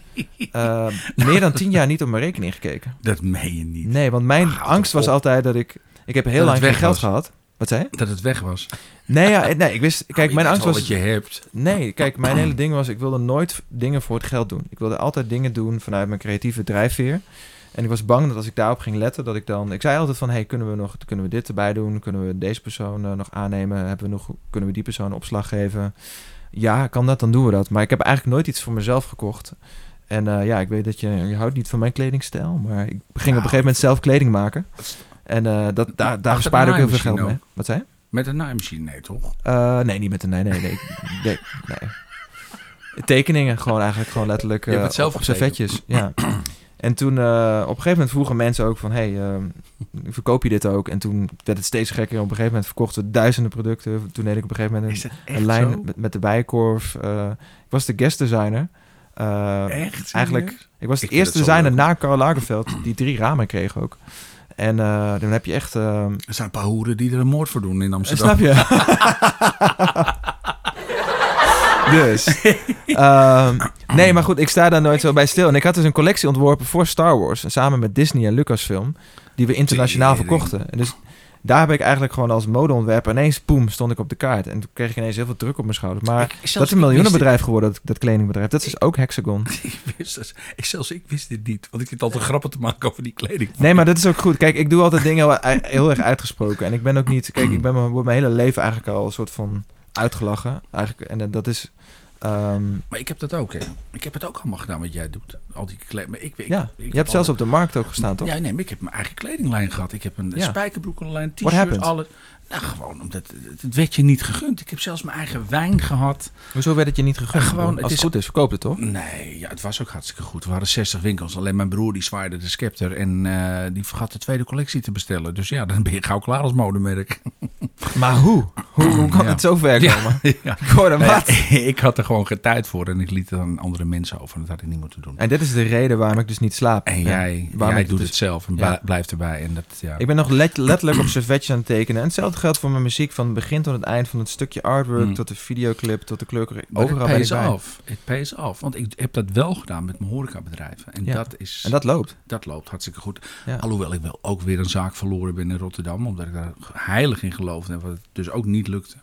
eh, meer dan tien jaar niet op mijn rekening gekeken. dat meen je niet. Ah, Nee, want mijn Houd angst was op. altijd dat ik... Ik heb heel het lang geen weg geld was. gehad. Wat zei je? Dat het weg was. Oh, Nee, ja, nee, ik wist... Kijk, Je mijn weet angst wel was... wat je hebt. Nee, kijk, mijn hele ding was... Ik wilde nooit dingen voor het geld doen. Ik wilde altijd dingen doen vanuit mijn creatieve drijfveer. En ik was bang dat als ik daarop ging letten, dat ik dan... Ik zei altijd van, hey, kunnen we, nog, kunnen we dit erbij doen? Kunnen we deze persoon eh, nog aannemen? Hebben we nog, kunnen we die persoon opslag geven? Ja, kan dat, dan doen we dat. Maar ik heb eigenlijk nooit iets voor mezelf gekocht. En eh, ja, ik weet dat je, je houdt niet van mijn kledingstijl. Maar ik ging op een gegeven moment zelf kleding maken. En eh, dat, daar, daar Achter bespaarde ik heel veel naaimachine geld mee. Wat zei je? Met een naaimachine, nee toch? Eh, nee, niet met een nee, nee, nee. nee, nee. Tekeningen gewoon eigenlijk gewoon letterlijk Je hebt eh, het zelf op getekend. servetjes. Ja. En toen eh, op een gegeven moment vroegen mensen ook van... hey, eh, verkoop je dit ook? En toen werd het steeds gekker. Op een gegeven moment verkochten we duizenden producten. Toen deed ik op een gegeven moment een, dat een lijn met, met de bijenkorf. Eh, ik was de guest designer. Eh, Echt? eigenlijk- serieus? ik was de Ik vind eerste het zo designer leuk. na Karl Lagerfeld die drie ramen kreeg ook. En eh, dan heb je echt... eh, Er zijn een paar hoeren die er een moord voor doen in Amsterdam. Snap je? dus. ehm, nee, maar goed, ik sta daar nooit zo bij stil. En ik had dus een collectie ontworpen voor Star Wars. Samen met Disney en Lucasfilm. Die we internationaal Tering. verkochten. En dus daar heb ik eigenlijk gewoon als modeontwerper ineens, poem, stond ik op de kaart. En toen kreeg ik ineens heel veel druk op mijn schouders. Maar Ik- zelfs dat is een ik miljoenenbedrijf geworden, dat, dat kledingbedrijf. Dat is dus ook Hexagon. wist dit- Ik wist dat- ik, zelfs ik wist dit niet, want ik zit altijd grappen te maken over die kleding. Nee, maar dat is ook goed. Kijk, ik doe altijd dingen heel, heel erg uitgesproken. En ik ben ook niet... Kijk, ik ben mijn, word mijn hele leven eigenlijk al een soort van uitgelachen. Eigenlijk, en dat is... ehm, Maar ik heb dat ook, hè. Ik heb het ook allemaal gedaan wat jij doet. Al die kleding. Maar ik, ik, ja, ik je hebt zelfs al- op de markt ook gestaan, toch? Ja, nee, maar ik heb mijn eigen kledinglijn gehad. Ik heb een Ja. spijkerbroekenlijn, What t-shirt, happened? alles. Nou, gewoon omdat het- het werd je niet gegund. Ik heb zelfs mijn eigen wijn gehad. Hoezo werd het je niet gegund? Eh, gewoon, Als het het is- goed is, verkoop het, toch? Nee, ja, het was ook hartstikke goed. We hadden 60 winkels. Alleen mijn broer die zwaaide de scepter en eh, die vergat de tweede collectie te bestellen. Dus ja, dan ben je gauw klaar als modemerk. Maar hoe? Hoe, hoe kan Ja. het zo ver Ja. komen? ja. Ik hoor hem Nou ja, wat. ik had er gewoon geen tijd voor en ik liet het aan andere mensen over. Dat had ik niet moeten doen. En dit is de reden waarom ik dus niet slaap. En jij, waarom jij ik doet dus- het zelf en Ja. bla- blijft erbij. En dat, ja. Ik ben nog let- letterlijk op servetjes aan het tekenen. En hetzelfde geldt voor mijn muziek. Van het begin tot het eind. Van het stukje artwork Hmm. tot de videoclip tot de kleur. Maar Overal het ben ik pays bij. af. Het pays af. Want ik heb dat wel gedaan met mijn horecabedrijven. En, Ja. dat, is, En dat... dat loopt. loopt hartstikke goed. Ja. Alhoewel ik wel ook weer een zaak verloren ben in Rotterdam. Omdat ik daar heilig in geloofde. En wat het dus ook niet lukte.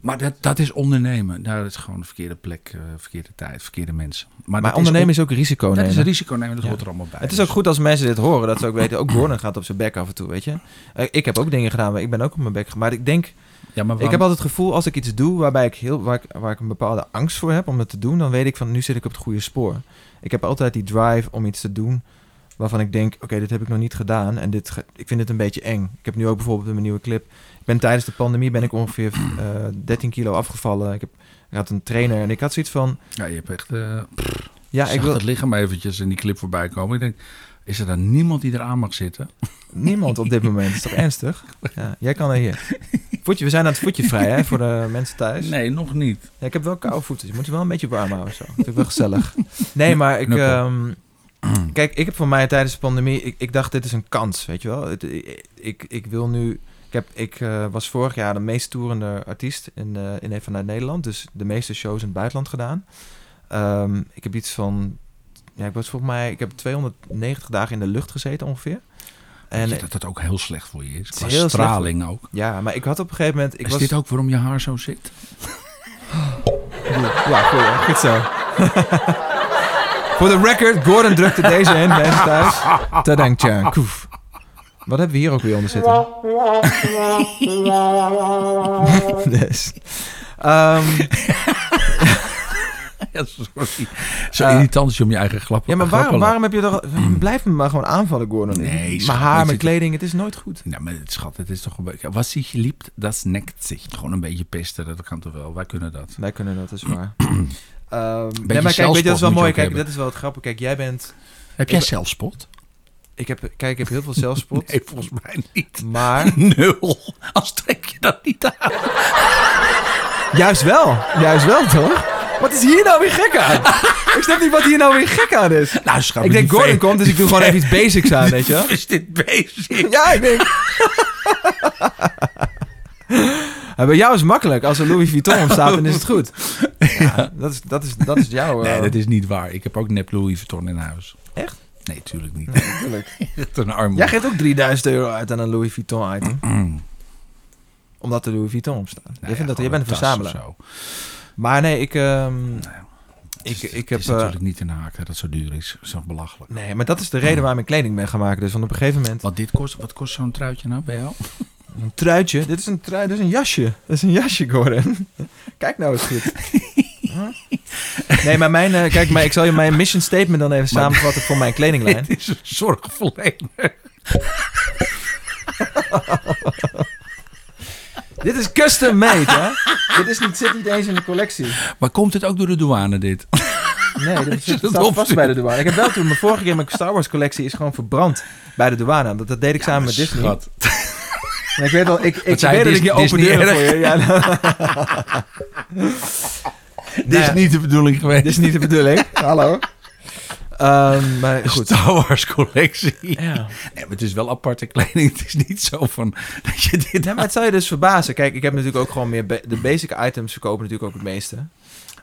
Maar dat, dat is ondernemen. Daar is gewoon de verkeerde plek, eh, verkeerde tijd, verkeerde mensen. Maar, Maar dat ondernemen is, is ook risico ook- nemen. dat is een risico nemen. Dat Ja. hoort er allemaal bij. Het is Dus- ook goed als mensen dit horen, dat ze ook weten. Ook Gordon gaat op zijn bek af en toe, weet je. Eh, Ik heb ook dingen gedaan, maar ik ben ook op mijn bek. ge- Maar ik denk, Ja, maar ik waarom- heb altijd het gevoel als ik iets doe waarbij ik heel, waar, ik, waar ik een bepaalde angst voor heb om het te doen, dan weet ik van nu zit ik op het goede spoor. Ik heb altijd die drive om iets te doen waarvan ik denk, oké, dit heb ik nog niet gedaan en dit, ge- ik vind het een beetje eng. Ik heb nu ook bijvoorbeeld in mijn nieuwe clip. Ik ben tijdens de pandemie ben ik ongeveer eh, 13 kilo afgevallen. Ik, heb, ik had een trainer en ik had zoiets van, Ja, je hebt echt... eh, ja, zag ik wil het lichaam eventjes in die clip voorbij komen. Ik denk, is er dan niemand die eraan mag zitten? Niemand op dit moment. Is toch ernstig? Ja, jij kan er hier. Voetje, we zijn aan het voetje vrij, hè, voor de mensen thuis. Nee, nog niet. Ja, ik heb wel koude voeten, dus je moet je wel een beetje warm houden. Zo. Vind ik wel gezellig. Nee, maar ik... Knuppel. ehm, kijk, ik heb voor mij tijdens de pandemie... Ik, ik dacht, dit is een kans, weet je wel? Het- ik, ik, ik wil nu... Ik, heb, ik eh, was vorig jaar de meest toerende artiest in, eh in, vanuit Nederland. Dus de meeste shows in het buitenland gedaan. Ehm, ik heb iets van... Ja, ik was volgens mij... Ik heb 290 dagen in de lucht gezeten ongeveer. En En dat dat ook heel slecht voor je is. is Qua heel slecht straling ook. ja, maar ik had op een gegeven moment... Ik is was, dit ook waarom je haar zo zit? Ja, goed, hè? goed zo. Voor de record, Gordon drukte deze in, mensen thuis. Tadank, tja, koef. Wat hebben we hier ook weer onder zitten? dus. Ehm, ja, sorry. Eh, Zo irritant als je om je eigen grap Ja, maar waarom, grappen lacht. waarom heb je toch... Blijf me maar gewoon aanvallen, Gordon. Nee, mijn schat, haar, weet mijn je- kleding, het is nooit goed. Nou, maar schat, het is toch een beetje... Wat zich liebt, dat neckt zich. Gewoon een beetje pesten, dat kan toch wel. Wij kunnen dat. Wij kunnen dat, dat is waar. Ehm, nee, maar kijk, zelfspot weet je, dat is wel moet je mooi. ook Kijk, hebben. dat is wel het grappige. Kijk, jij bent... Heb jij jij zelfspot? Ik heb, kijk, ik heb heel veel zelfspot. Nee, volgens mij niet. Maar... Nul. Als trek je dat niet aan. Juist wel. Juist wel, toch? Wat is hier nou weer gek aan? ik snap niet wat hier nou weer gek aan is. Nou, schat, Ik denk die Gordon ve- komt, dus ik doe gewoon even iets basics aan, weet je wel? Is dit bezig? Ja, ik denk... Ja, bij jou is het makkelijk. Als er Louis Vuitton op staat, dan is het goed. Ja, dat, is, dat, is, dat is jouw... eh, Nee, dat is niet waar. Ik heb ook nep Louis Vuitton in huis. Echt? Nee, tuurlijk niet. natuurlijk. Echt een arm. Jij geeft ook 3000 euro uit aan een Louis Vuitton item. Mm. Omdat er Louis Vuitton op staat. jij, Nou ja, vindt dat, jij gewoon bent een tas of verzamelaar. zo. Nou Maar nee, ik... ehm, ja. ik, Het is- ik het heb... is eh, natuurlijk niet in de haak dat het zo duur is. Dat is toch belachelijk. nee, maar dat is de reden waarom ik kleding ben gaan maken. Dus want op een gegeven moment... Want dit kost, wat kost zo'n truitje nou bij jou? Een truitje. Dit is een trui, dit is een jasje. Dat is een jasje, Gordon. Kijk nou eens goed. Huh? Nee, maar mijn... eh, kijk, maar ik zal je mijn mission statement dan even Maar- samenvatten voor mijn kledinglijn. Het is een zorgverlener. Dit is custom made, hè? dit is niet, zit niet eens in de collectie. Maar komt het ook door de douane dit? Nee, dat je zit dat staat vast opstuurt. bij de douane. Ik heb wel toen, mijn vorige keer mijn Star Wars collectie is gewoon verbrand bij de douane. omdat dat deed ik samen met Disney. Schat. Maar ik weet wel, ik, ik Wat zei weet dat ik Dis- je open Disney deuren erg? voor je. Ja, nou- Dit is Nee, niet de bedoeling geweest. dit is niet de bedoeling. Hallo. Ehm, maar De goed. Star Wars collectie. Ja. Nee, maar het is wel aparte kleding. Het is niet zo van dat je dit... maar het zou je dus verbazen. Kijk, ik heb natuurlijk ook gewoon meer... ba- de basic items verkopen natuurlijk ook het meeste.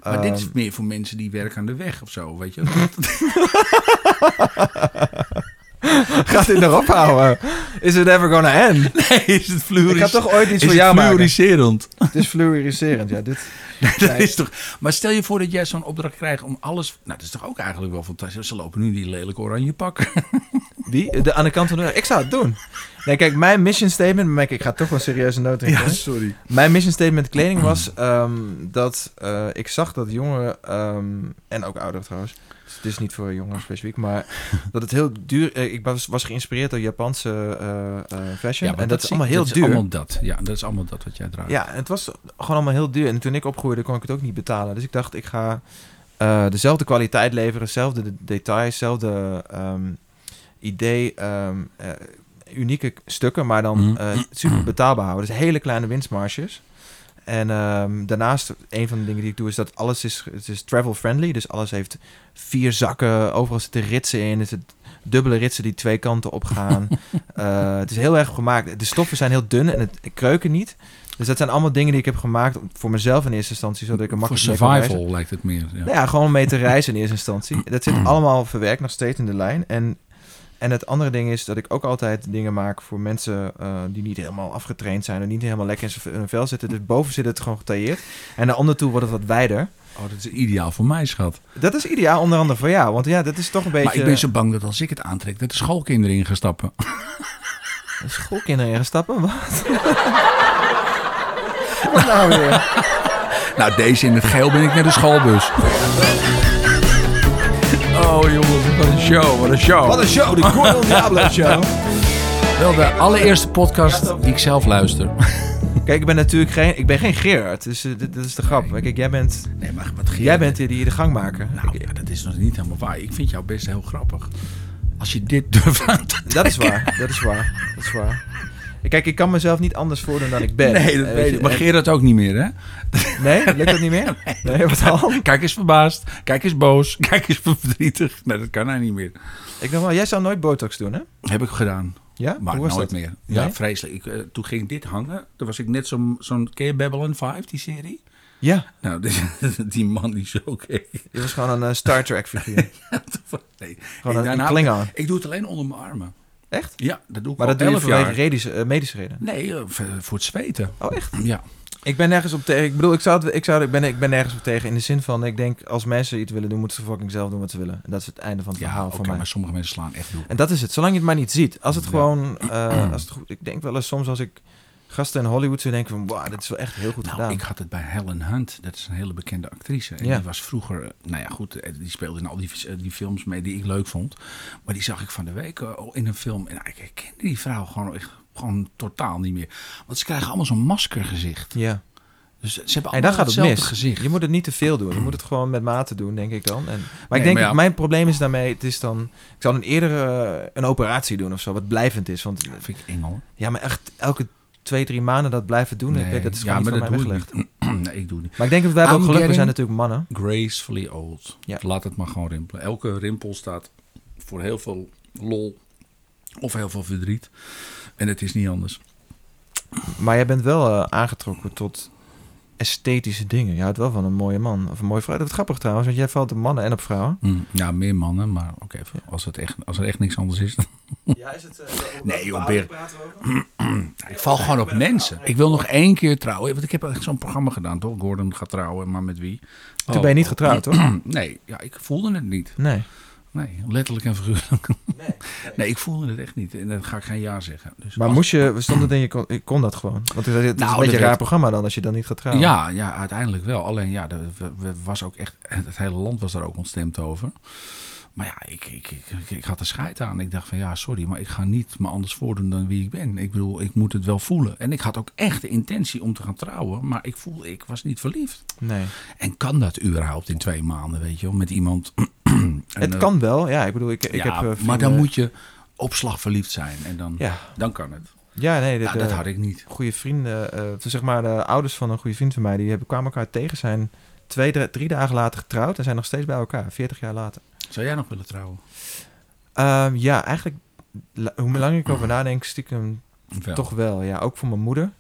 Maar Ehm, dit is meer voor mensen die werken aan de weg of zo, weet je. Dat- Ehm, Gaat dit nog ophouden? Is it ever gonna end? nee, is het Ik fluoris... ga toch ooit iets is voor het jou maken. fluoriserend? Het is fluoriserend, ja. Dit, Dat is toch... Maar stel je voor dat jij zo'n opdracht krijgt om alles... Nou, dat is toch ook eigenlijk wel fantastisch. Ze lopen nu in die lelijke oranje pakken. Wie? De, aan de kant van de deur. Ik zou het doen. Nee, kijk, mijn mission statement... maar Kijk, ik ga toch wel een serieuze noot in. gooien. sorry. Mijn mission statement kleding was... ehm, dat eh, ik zag dat jongeren... ehm, en ook ouderen trouwens... dus het is niet voor jongeren specifiek, maar dat het heel duur... eh, ik was, was geïnspireerd door Japanse eh, eh, Ja, fashion. maar en dat, is zie- allemaal heel dat duur. Is allemaal dat. Ja, dat is allemaal dat wat jij draagt. Ja, en het was gewoon allemaal heel duur. En toen ik opgroeide, kon ik het ook niet betalen. Dus ik dacht, ik ga eh, dezelfde kwaliteit leveren, dezelfde de- details, dezelfde ehm, idee, ehm, eh, unieke k- stukken, maar dan Mhm. eh, super betaalbaar houden. Dus hele kleine winstmarges. En ehm, daarnaast, een van de dingen die ik doe, is dat alles is, het is travel-friendly. Dus alles heeft vier zakken, overal zitten ritsen in. Er zitten dubbele ritsen die twee kanten op gaan. Eh, het is heel erg gemaakt. De stoffen zijn heel dun en het kreuken niet. Dus dat zijn allemaal dingen die ik heb gemaakt voor mezelf in eerste instantie, zodat ik er Voor makkelijk mee kan reizen. survival lijkt het meer. Ja. Nou ja, gewoon mee te reizen in eerste instantie. Dat zit allemaal verwerkt nog steeds in de lijn. En, en het andere ding is dat ik ook altijd dingen maak voor mensen eh, die niet helemaal afgetraind zijn en niet helemaal lekker in z'n- in hun vel zitten. Dus boven zit het gewoon getailleerd. En naar onder toe wordt het wat wijder. Oh, dat is ideaal voor mij, schat. Dat is ideaal, onder andere voor jou. Want ja, dat is toch een beetje. Maar ik ben zo bang dat als ik het aantrek, dat de schoolkinderen in gaan stappen. Schoolkinderen in stappen? Wat? Wat nou weer? nou, deze in het geel ben ik naar de schoolbus. oh, jongens, wat een show, wat een show. Wat een show, de Gordon Diablo show. Wel de allereerste podcast die ik zelf luister. Kijk, ik ben natuurlijk geen, ik ben geen Gerard, dus eh, dit, dit is de grap. Maar Kijk, jij bent, Nee, maar wat jij bent die, die de gang maken. Nou ja, dat is nog niet helemaal waar. Ik vind jou best heel grappig. Als je dit durft aan te Dat is waar, dat is waar, dat is waar. Kijk, ik kan mezelf niet anders voordoen dan ik ben. Eh, weet je, Maar en- Gerard ook niet meer, hè? Nee, lukt dat niet meer? Nee, wat al? Kijk eens verbaasd. Kijk eens boos. Kijk eens verdrietig. Nee, dat kan hij niet meer. Ik dacht wel, jij zou nooit botox doen, hè? Heb ik gedaan. Ja? Maar Hoe was nooit dat? meer. Ja, Nee? vreselijk. Ik, eh, toen ging dit hangen. Toen was ik net zo'n... zo'n ken je Babylon 5, die serie? Ja, Nou, die, die man die zo keek. je was gewoon een eh, Star Trek figuur. Nee. Gewoon En een, een daarna- Klingon. Ik doe het alleen onder mijn armen. Echt? Ja, dat doe ik Maar al dat doe je 11 vanwege jaar. redische- eh, medische redenen. Nee, eh, voor voor het zweten. Oh, echt? Ja. Ik ben nergens op tegen. Ik bedoel, ik, zou het, ik, zou, ik, ben, ik ben nergens op tegen in de zin van... Ik denk, als mensen iets willen doen, moeten ze fucking zelf doen wat ze willen. En dat is het einde van het Ja, verhaal oké, voor mij. maar sommige mensen slaan echt door. En dat is het. Zolang je het maar niet ziet. Als het Ja. gewoon... eh, als het goed, ik denk wel eens soms als ik gasten in Hollywood zullen denken van... Wow, dit is wel echt heel goed nou, gedaan. ik had het bij Helen Hunt. Dat is een hele bekende actrice. En Ja. die was vroeger... Nou ja, goed. eh, Die speelde in al die, eh, die films mee die ik leuk vond. Maar die zag ik van de week eh, in een film. En nou, ik herkende die vrouw gewoon echt... Gewoon totaal niet meer. Want ze krijgen allemaal zo'n maskergezicht. Ja. Dus ze hebben En dan allemaal gaat het hetzelfde mis. gezicht. Je moet het niet te veel doen. Je moet het gewoon met mate doen, denk ik dan. En, maar Nee, ik denk, maar ja. mijn probleem is daarmee... Het is dan... Ik zou dan eerder eh, een operatie doen of zo, wat blijvend is. Want Dat vind ik eng hoor. ja, maar echt elke twee, drie maanden dat blijven doen... ik weet, dat is ja, gewoon niet maar van dat mij doe weggelegd. ik niet. nee, ik doe het niet. Maar ik denk dat wij hebben ook I'm geluk. We zijn getting- natuurlijk mannen. Gracefully old. Ja. Laat het maar gewoon rimpelen. Elke rimpel staat voor heel veel lol of heel veel verdriet. En het is niet anders. Maar jij bent wel eh, aangetrokken tot esthetische dingen. Je houdt wel van een mooie man of een mooie vrouw. Dat is grappig trouwens, want jij valt op mannen en op vrouwen. Hm, Ja, meer mannen, maar oké, als, het echt, als er echt niks anders is. eh, Ja, is het... Nee, joh, Bert. ik val gewoon op mensen. Ik wil nog één keer trouwen. Want ik heb echt zo'n programma gedaan, toch? Gordon gaat trouwen, maar met wie? Toen ben je niet getrouwd, hoor? Oh, nee, ja, ik voelde het niet. Nee. Nee, letterlijk en figuurlijk. nee. Nee, ik voelde het echt niet. En dan ga ik geen ja zeggen. Dus Maar als- moest je... Stond het in je... Kon, ik kon dat gewoon. Want het is, het is Nou, een beetje dat een raar werd- programma dan, als je dan niet gaat trouwen. Ja, ja, uiteindelijk wel. Alleen ja, de- we- we was ook echt, het hele land was daar ook ontstemd over. Maar ja, ik, ik, ik, ik, ik had er scheid aan. Ik dacht van ja, sorry, maar ik ga niet me anders voordoen dan wie ik ben. Ik bedoel, ik moet het wel voelen. En ik had ook echt de intentie om te gaan trouwen, maar ik voelde, ik was niet verliefd. Nee. En kan dat überhaupt in twee maanden, weet je wel, met iemand? het kan wel. Ja, ik bedoel, ik, ik heb... eh, eh, maar vrienden- dan moet je op slag verliefd zijn en dan, Ja. dan kan het. Ja, nee. Ja, dit, dat eh, had ik niet. goede vrienden, eh, of zeg maar de ouders van een goede vriend van mij, die hebben, kwamen elkaar tegen, zijn twee, drie, drie dagen later getrouwd en zijn nog steeds bij elkaar, 40 jaar later. Zou jij nog willen trouwen? Ehm, ja, eigenlijk, la- hoe langer ik over nadenk, stiekem toch wel. Ja, ook voor mijn moeder.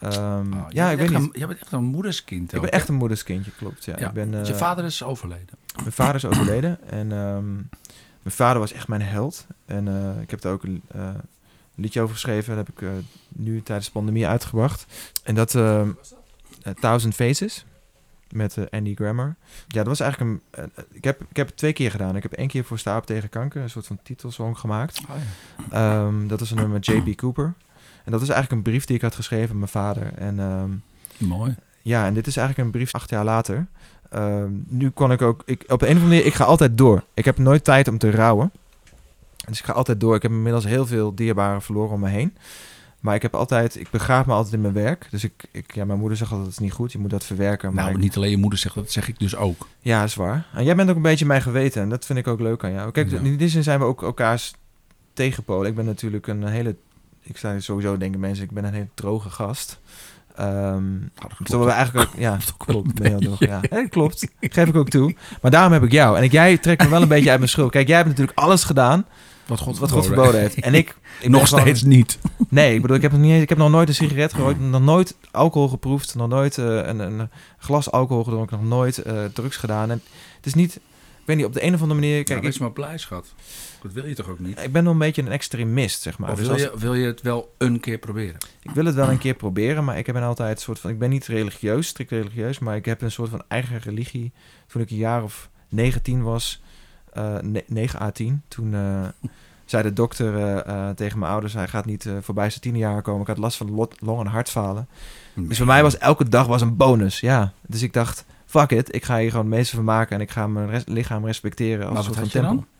Ehm, Oh, jij ja, ik bent echt weet een- niet. Jij bent echt een moederskind. Ik ben ook, echt een moederskindje, klopt. Ja. Ja, ik ben, Want eh, je vader is overleden. Mijn vader is overleden en ehm, mijn vader was echt mijn held. En eh, ik heb daar ook een eh, liedje over geschreven. Dat heb ik eh, nu tijdens de pandemie uitgebracht. En dat ehm, eh, Thousand Faces met eh, Andy Grammer. Ja, dat was eigenlijk een... eh, eh, ik, heb, ik heb het twee keer gedaan. Ik heb één keer voor Sta op tegen kanker een soort van titelsong gemaakt. Ehm, dat was een nummer met J.P. Cooper. En dat is eigenlijk een brief die ik had geschreven aan mijn vader. En... ehm, Mooi. ja, en dit is eigenlijk een brief acht jaar later. Ehm, nu kon ik ook... Ik, op de een of andere manier, ik ga altijd door. Ik heb nooit tijd om te rouwen. Dus ik ga altijd door. Ik heb inmiddels heel veel dierbaren verloren om me heen. Maar ik heb altijd... Ik begraaf me altijd in mijn werk. Dus ik... ik ja, mijn moeder zegt altijd, het is niet goed. Je moet dat verwerken. Maar Nou, ik- niet alleen je moeder zegt dat, zeg ik dus ook. ja, is waar. En jij bent ook een beetje mijn geweten. En dat vind ik ook leuk aan jou. Kijk, Ja. in die zin zijn we ook elkaars tegenpolen. Ik ben natuurlijk een hele... Ik sta sowieso, denken mensen, ik ben een hele droge gast. Ehm Terwijl we eigenlijk ook, ja, Nou, Klopt ook wel klopt. een Ben je wel door, ja. Ja, dat klopt. Geef ik ook toe. Maar daarom heb ik jou. En ik, jij trekt me wel een beetje uit mijn schuld. Kijk, jij hebt natuurlijk alles gedaan Wat God, wat God verboden heeft. En ik, ik ben Nog gewoon- steeds niet. Nee, ik bedoel, ik heb, nog niet, eens- ik heb nog nooit een sigaret gerookt. Nog nooit alcohol geproefd. Nog nooit eh, een, een glas alcohol gedronken. Nog nooit eh, drugs gedaan. En het is niet, ik weet niet, op de een of andere manier. Kijk, Kijk, is Nou, maar blij, schat. Dat wil je toch ook niet? ik, ik ben wel een beetje een extremist, zeg maar. Of Dus wil als- je, wil je het wel een keer proberen? Ik wil het wel een keer proberen, maar ik heb een altijd een soort van. Ik ben niet religieus, strikt religieus, maar ik heb een soort van eigen religie. Toen ik een jaar of 19 was, eh, ne- 9 à 10, toen eh, zei de dokter eh, eh, tegen mijn ouders: hij gaat niet eh, voorbij zijn tiende jaar komen. Ik had last van lot, long- en hartfalen. Dus voor mij was elke dag was een bonus, ja. Dus ik dacht: fuck it, ik ga hier gewoon het meeste van maken en ik ga mijn res- lichaam respecteren. Als Maar een wat soort had van je tempel.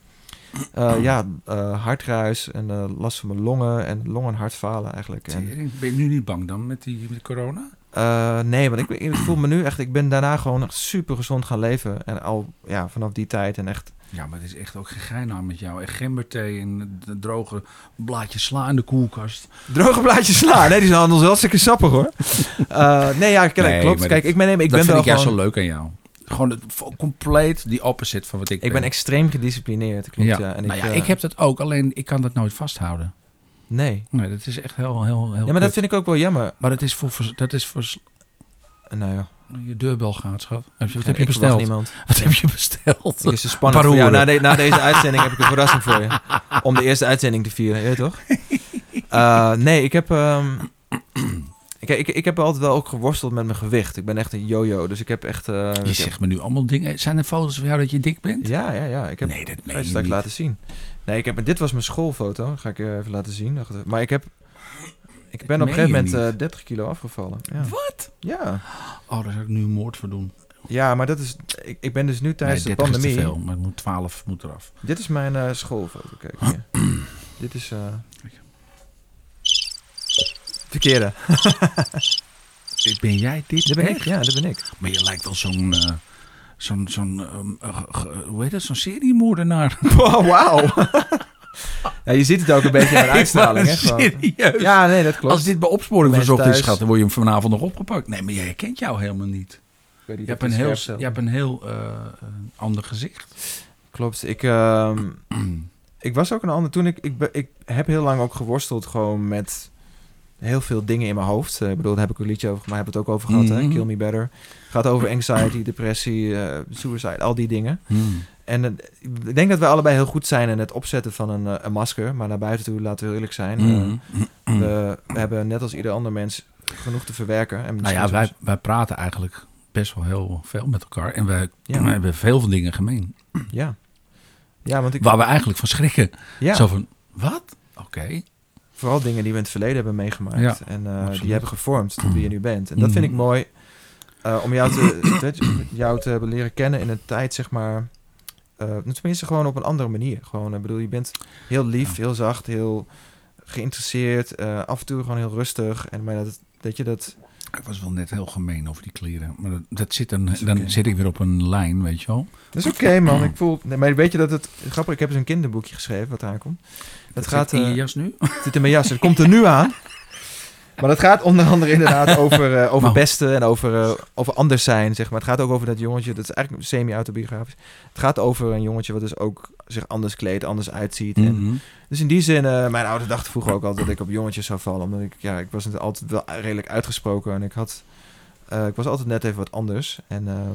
Eh, ja, eh, hartruis en eh, last van mijn longen en long- en hartfalen eigenlijk. En, Tering, Ben je nu niet bang dan met die met corona? eh, nee, want ik, ik voel me nu echt... Ik ben daarna gewoon echt super gezond gaan leven. En al ja, vanaf die tijd en echt... Ja, maar het is echt ook geen gein nou aan met jou. En gemberthee en de droge blaadjes sla in de koelkast. Droge blaadjes sla. Nee, die zijn anders hartstikke sappig, hoor. Eh, nee, ja, kijk, Nee, klopt. maar Kijk, dat- ik ben, nee, maar ik dat ben vind wel ik juist gewoon... zo leuk aan jou. Gewoon het, vo- compleet die opposite van wat ik, Ik ben extreem gedisciplineerd, klopt, ja. En nou ik, ja, eh, ik heb dat ook, alleen ik kan dat nooit vasthouden. Nee. Nee, dat is echt heel, heel, heel Ja, maar dat kut. vind ik ook wel jammer. Maar dat is voor, vers- dat is voor s- Eh, Nou ja. je deurbel gaat, schat. Heb je, wat Ja, heb je ik verwacht besteld? niemand. Wat heb je besteld? Het is dus spannend voor jou. Paroeren. Na, de- na deze uitzending heb ik een verrassing voor je. Om de eerste uitzending te vieren, je weet toch? Eh, nee, ik heb... ehm, ik, ik, ik heb altijd wel ook geworsteld met mijn gewicht. Ik ben echt een yo-yo, dus ik heb echt... eh, Je ik heb- zegt me nu allemaal dingen. Zijn er foto's van jou dat je dik bent? ja, ja, ja. Ik heb nee, dat nee, meen je straks niet. eh, laten zien. Nee, ik heb, dit was mijn schoolfoto. Ga ik je even laten zien. Wacht even. Maar ik heb... Ik ben op een meen gegeven je moment eh, 30 kilo afgevallen. Ja. Wat? Ja. Oh, daar zou ik nu een moord voor doen. ja, maar dat is. Ik, ik ben dus nu tijdens nee, de 30 is pandemie. te veel, maar het moet 12 moet eraf. Dit is mijn eh, schoolfoto. Kijk hier. Dit is. eh Verkeerde. Ben jij dit? Dit ben ik. Echt? Ja, dit ben ik. Maar je lijkt wel zo'n... eh, Zo'n, zo'n, ehm, eh, ge- ge- hoe heet dat? Zo'n seriemoordenaar. Wow, wauw. ja, je ziet het ook een beetje aan de uitstraling. Hè, gewoon. Serieus. ja, nee, dat klopt. Als dit bij opsporing Mensen verzocht is, thuis. schat, dan word je hem vanavond nog opgepakt. Nee, maar jij herkent jou helemaal niet. Ik weet niet Je of hebt het een heel, scherp stelt. je hebt een heel eh, een ander gezicht. Klopt. Ik, ehm, ik was ook een ander. Toen ik, ik, be- ik heb heel lang ook geworsteld gewoon met heel veel dingen in mijn hoofd. Eh, ik bedoel, daar heb ik een liedje over, maar heb het ook over gehad. Hè? Mhm. Kill Me Better. Gaat over anxiety, depressie, eh, suicide, al die dingen. Hmm. En eh, ik denk dat we allebei heel goed zijn in het opzetten van een, eh, een masker. Maar naar buiten toe, laten we eerlijk zijn. Mm. eh, we, we hebben net als ieder ander mens genoeg te verwerken. En Nou misschien ja, wij, soms- wij praten eigenlijk best wel heel veel met elkaar. En wij Ja. wij hebben veel van dingen gemeen. Ja. ja, want ik... Waar we eigenlijk van schrikken. ja. Zo van, wat? Oké. Vooral dingen die we in het verleden hebben meegemaakt. Ja, en eh, absoluut. die hebben gevormd tot wie je nu bent. En dat vind ik Mhm. mooi. eh, om jou te, weet je, jou te hebben leren kennen in een tijd, zeg maar. eh, tenminste, gewoon op een andere manier. Gewoon, eh, bedoel, je bent heel lief, heel zacht, heel geïnteresseerd. eh, af en toe gewoon heel rustig. En maar dat, dat je dat. Ik was wel net heel gemeen over die kleren. Maar dat, dat zit dan, is dan oké. zit ik weer op een lijn, weet je wel. Dat is oké, man. Ik voel. Nee, maar weet je dat het. Grappig, ik heb eens een kinderboekje geschreven wat aankomt. Dat, zit gaat. in eh, je jas nu. zit in mijn jas. Het komt er nu aan. Maar het gaat onder andere inderdaad over, eh, over Maar- pesten en over, eh, over anders zijn, zeg maar. Het gaat ook over dat jongetje, dat is eigenlijk semi-autobiografisch. Het gaat over een jongetje wat dus ook zich anders kleedt, anders uitziet. En Mhm. dus in die zin, eh, mijn ouders dachten vroeger ook altijd dat ik op jongetjes zou vallen. Omdat ik, ja, ik was het altijd wel redelijk uitgesproken. En ik had, eh, ik was altijd net even wat anders. En, ehm,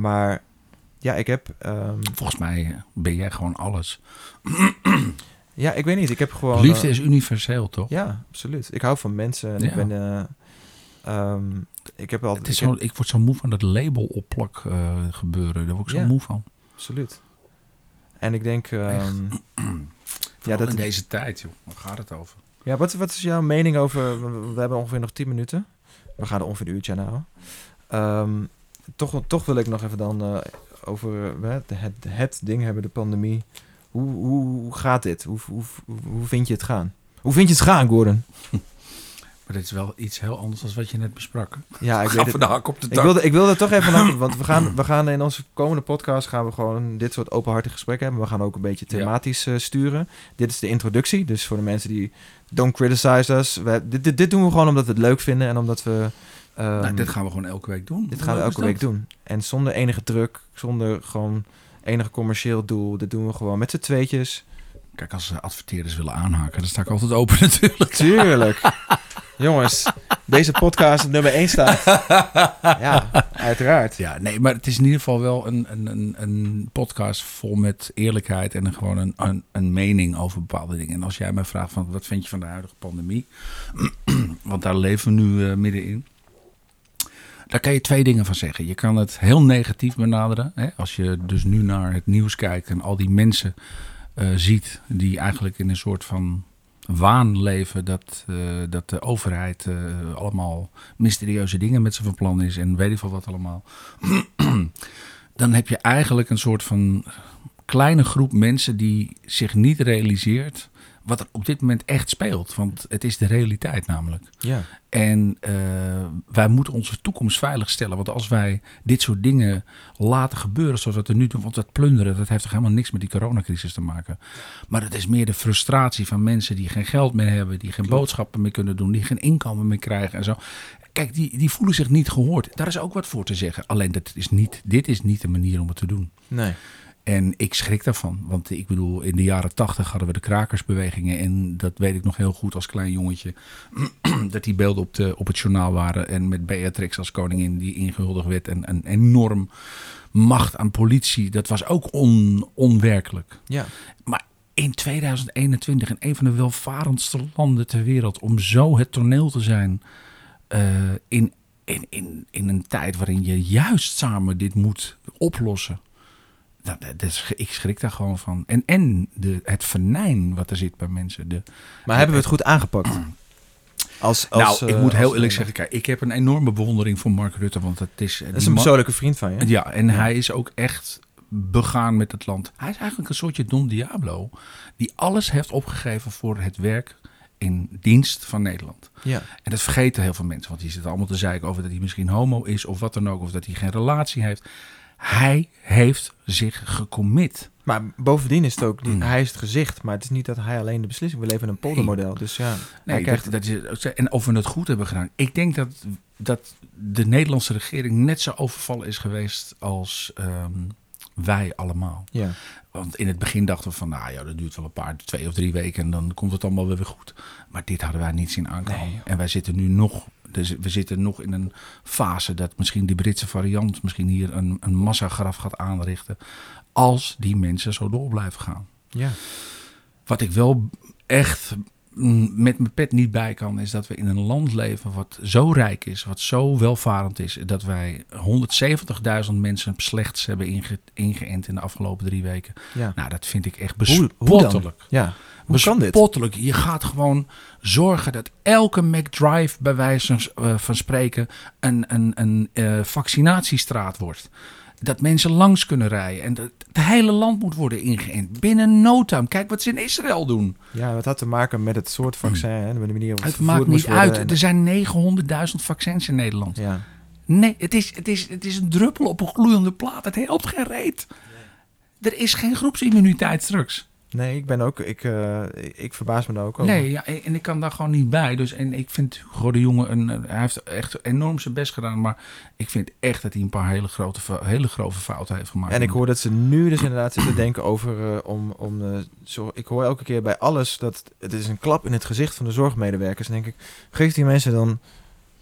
maar ja, ik heb, ehm, Volgens mij eh, ben jij gewoon alles. ja, ik weet niet, ik heb gewoon... Liefde eh, is universeel, toch? Ja, absoluut. Ik hou van mensen. En Ja. Ik ben. eh, ehm, ik heb altijd. Het is ik heb- zo, ik word zo moe van dat label opplak eh, gebeuren. Daar word ik zo Ja. moe van. absoluut. En ik denk. ehm, Ja, dat dat- in deze tijd, joh. Waar gaat het over? ja, wat, wat is jouw mening over. we- We hebben ongeveer nog 10 minuten. We gaan er ongeveer een uurtje aan houden. Ehm, toch, toch wil ik nog even dan eh, over eh, het, het, het ding hebben, de pandemie. Hoe, hoe, hoe gaat dit? Hoe, hoe, hoe, hoe vind je het gaan? Hoe vind je het gaan, Gordon? Maar dit is wel iets heel anders dan wat je net besprak. Ja, ik Ga weet van het. de hak op de Ik tak. wilde, ik wilde toch even... naar- want we gaan, we gaan in onze komende podcast... gaan we gewoon dit soort openhartige gesprekken hebben. We gaan ook een beetje Ja. thematisch eh, sturen. Dit is de introductie. Dus voor de mensen die... Don't criticize us. We, dit, dit, dit doen we gewoon omdat we het leuk vinden. En omdat we... ehm, Nou, dit dit, gaan we gewoon elke week doen. Hoe gaan we leuk is elke week dat? doen. En zonder enige druk. Zonder gewoon enig commercieel doel. Dit doen we gewoon met z'n tweetjes. Kijk, als ze adverteerders willen aanhaken, dan sta ik altijd open natuurlijk. Tuurlijk. Jongens. Deze podcast op nummer 1 staat. Ja, uiteraard. Ja, nee, maar het is in ieder geval wel een, een, een, een podcast vol met eerlijkheid en een- gewoon een, een, een mening over bepaalde dingen. En als jij mij vraagt van wat vind je van de huidige pandemie, want daar leven we nu eh, middenin. Daar kan je twee dingen van zeggen. Je kan het heel negatief benaderen. Hè? Als je dus nu naar het nieuws kijkt en al die mensen eh, ziet die eigenlijk in een soort van waan leven dat, eh, dat de overheid eh, allemaal mysterieuze dingen met ze van plan is en weet ik veel wat allemaal. Dan heb je eigenlijk een soort van kleine groep mensen die zich niet realiseert wat er op dit moment echt speelt. Want het is de realiteit namelijk. Ja. En eh, wij moeten onze toekomst veiligstellen. Want als wij dit soort dingen laten gebeuren zoals we het er nu doen. Want dat plunderen, dat heeft toch helemaal niks met die coronacrisis te maken. Maar het is meer de frustratie van mensen die geen geld meer hebben. Die geen boodschappen meer kunnen doen. Die geen inkomen meer krijgen en zo. Kijk, die, die voelen zich niet gehoord. Daar is ook wat voor te zeggen. Alleen dat is niet, dit is niet de manier om het te doen. Nee. En ik schrik daarvan. Want ik bedoel, in de jaren tachtig hadden we de krakersbewegingen. En dat weet ik nog heel goed als klein jongetje. dat die beelden op, de, op het journaal waren. En met Beatrix als koningin die ingehuldigd werd. En een enorm macht aan politie. Dat was ook on, onwerkelijk. Ja. Maar in 2021, in een van de welvarendste landen ter wereld, om zo het toneel te zijn. eh, in, in, in, in een tijd waarin je juist samen dit moet oplossen. Dat, dat is, ik schrik daar gewoon van. En, en de, het venijn wat er zit bij mensen. De, Maar hebben we het goed aangepakt? Als, als, nou, ik eh, moet heel als- eerlijk zeggen, kijk, ik heb een enorme bewondering voor Mark Rutte. Want het is, Dat is een persoonlijke vriend van je. Ja, en hij is ook echt begaan met het land. Hij is eigenlijk een soortje Don Diablo. Die alles heeft opgegeven voor het werk in dienst van Nederland. Ja. En dat vergeten heel veel mensen. Want die zitten allemaal te zeiken over dat hij misschien homo is of wat dan ook. Of dat hij geen relatie heeft. Hij heeft zich gecommit. Maar bovendien is het ook, Mm. die- hij is het gezicht, maar het is niet dat hij alleen de beslissing, we leven in een poldermodel, dus ja. hij Nee, krijgt, dat, dat is, en of we het goed hebben gedaan. Ik denk dat, dat de Nederlandse regering net zo overvallen is geweest als ehm, wij allemaal. ja. Want in het begin dachten we van, nou ja, dat duurt wel een paar, twee of drie weken en dan komt het allemaal wel weer goed. Maar dit hadden wij niet zien aankomen. Nee, joh. en wij zitten nu nog, dus we zitten nog in een fase dat misschien die Britse variant misschien hier een, een massagraf gaat aanrichten. Als die mensen zo door blijven gaan. ja. Wat ik wel echt mm, met mijn pet niet bij kan, is dat we in een land leven wat zo rijk is, wat zo welvarend is, dat wij 170.000 mensen slechts hebben inge- ingeënt in de afgelopen drie weken. ja. Nou, dat vind ik echt Hoe- hoe dan? bespottelijk. Ja, Dus hoe kan dit? Bespottelijk. Je gaat gewoon zorgen dat elke McDrive, bij wijze eh, van spreken, een, een, een eh, vaccinatiestraat wordt. Dat mensen langs kunnen rijden. En dat het hele land moet worden ingeënt. Binnen no time. Kijk wat ze in Israël doen. Ja, dat had te maken met het soort vaccin, hè, met de manier waarop Mm. Het vervoerd maakt moest niet uit. worden en- Er zijn 900.000 vaccins in Nederland. Ja. Nee, het is, het, is, het is een druppel op een gloeiende plaat. Het helpt geen reet. Er is geen groepsimmuniteit straks. Nee, ik ben ook, ik, eh, ik verbaas me daar ook over. Nee, ja, en en ik kan daar gewoon niet bij. Dus, en ik vind Hugo de Jonge, een, een- hij heeft echt enorm zijn best gedaan. Maar ik vind echt dat hij een paar hele, grote, fou- hele grove fouten heeft gemaakt. En ik hoor dat ze nu dus inderdaad zitten denken over eh, om, om eh, zo, ik hoor elke keer bij alles dat het is een klap in het gezicht van de zorgmedewerkers. Dan denk ik, geef die mensen dan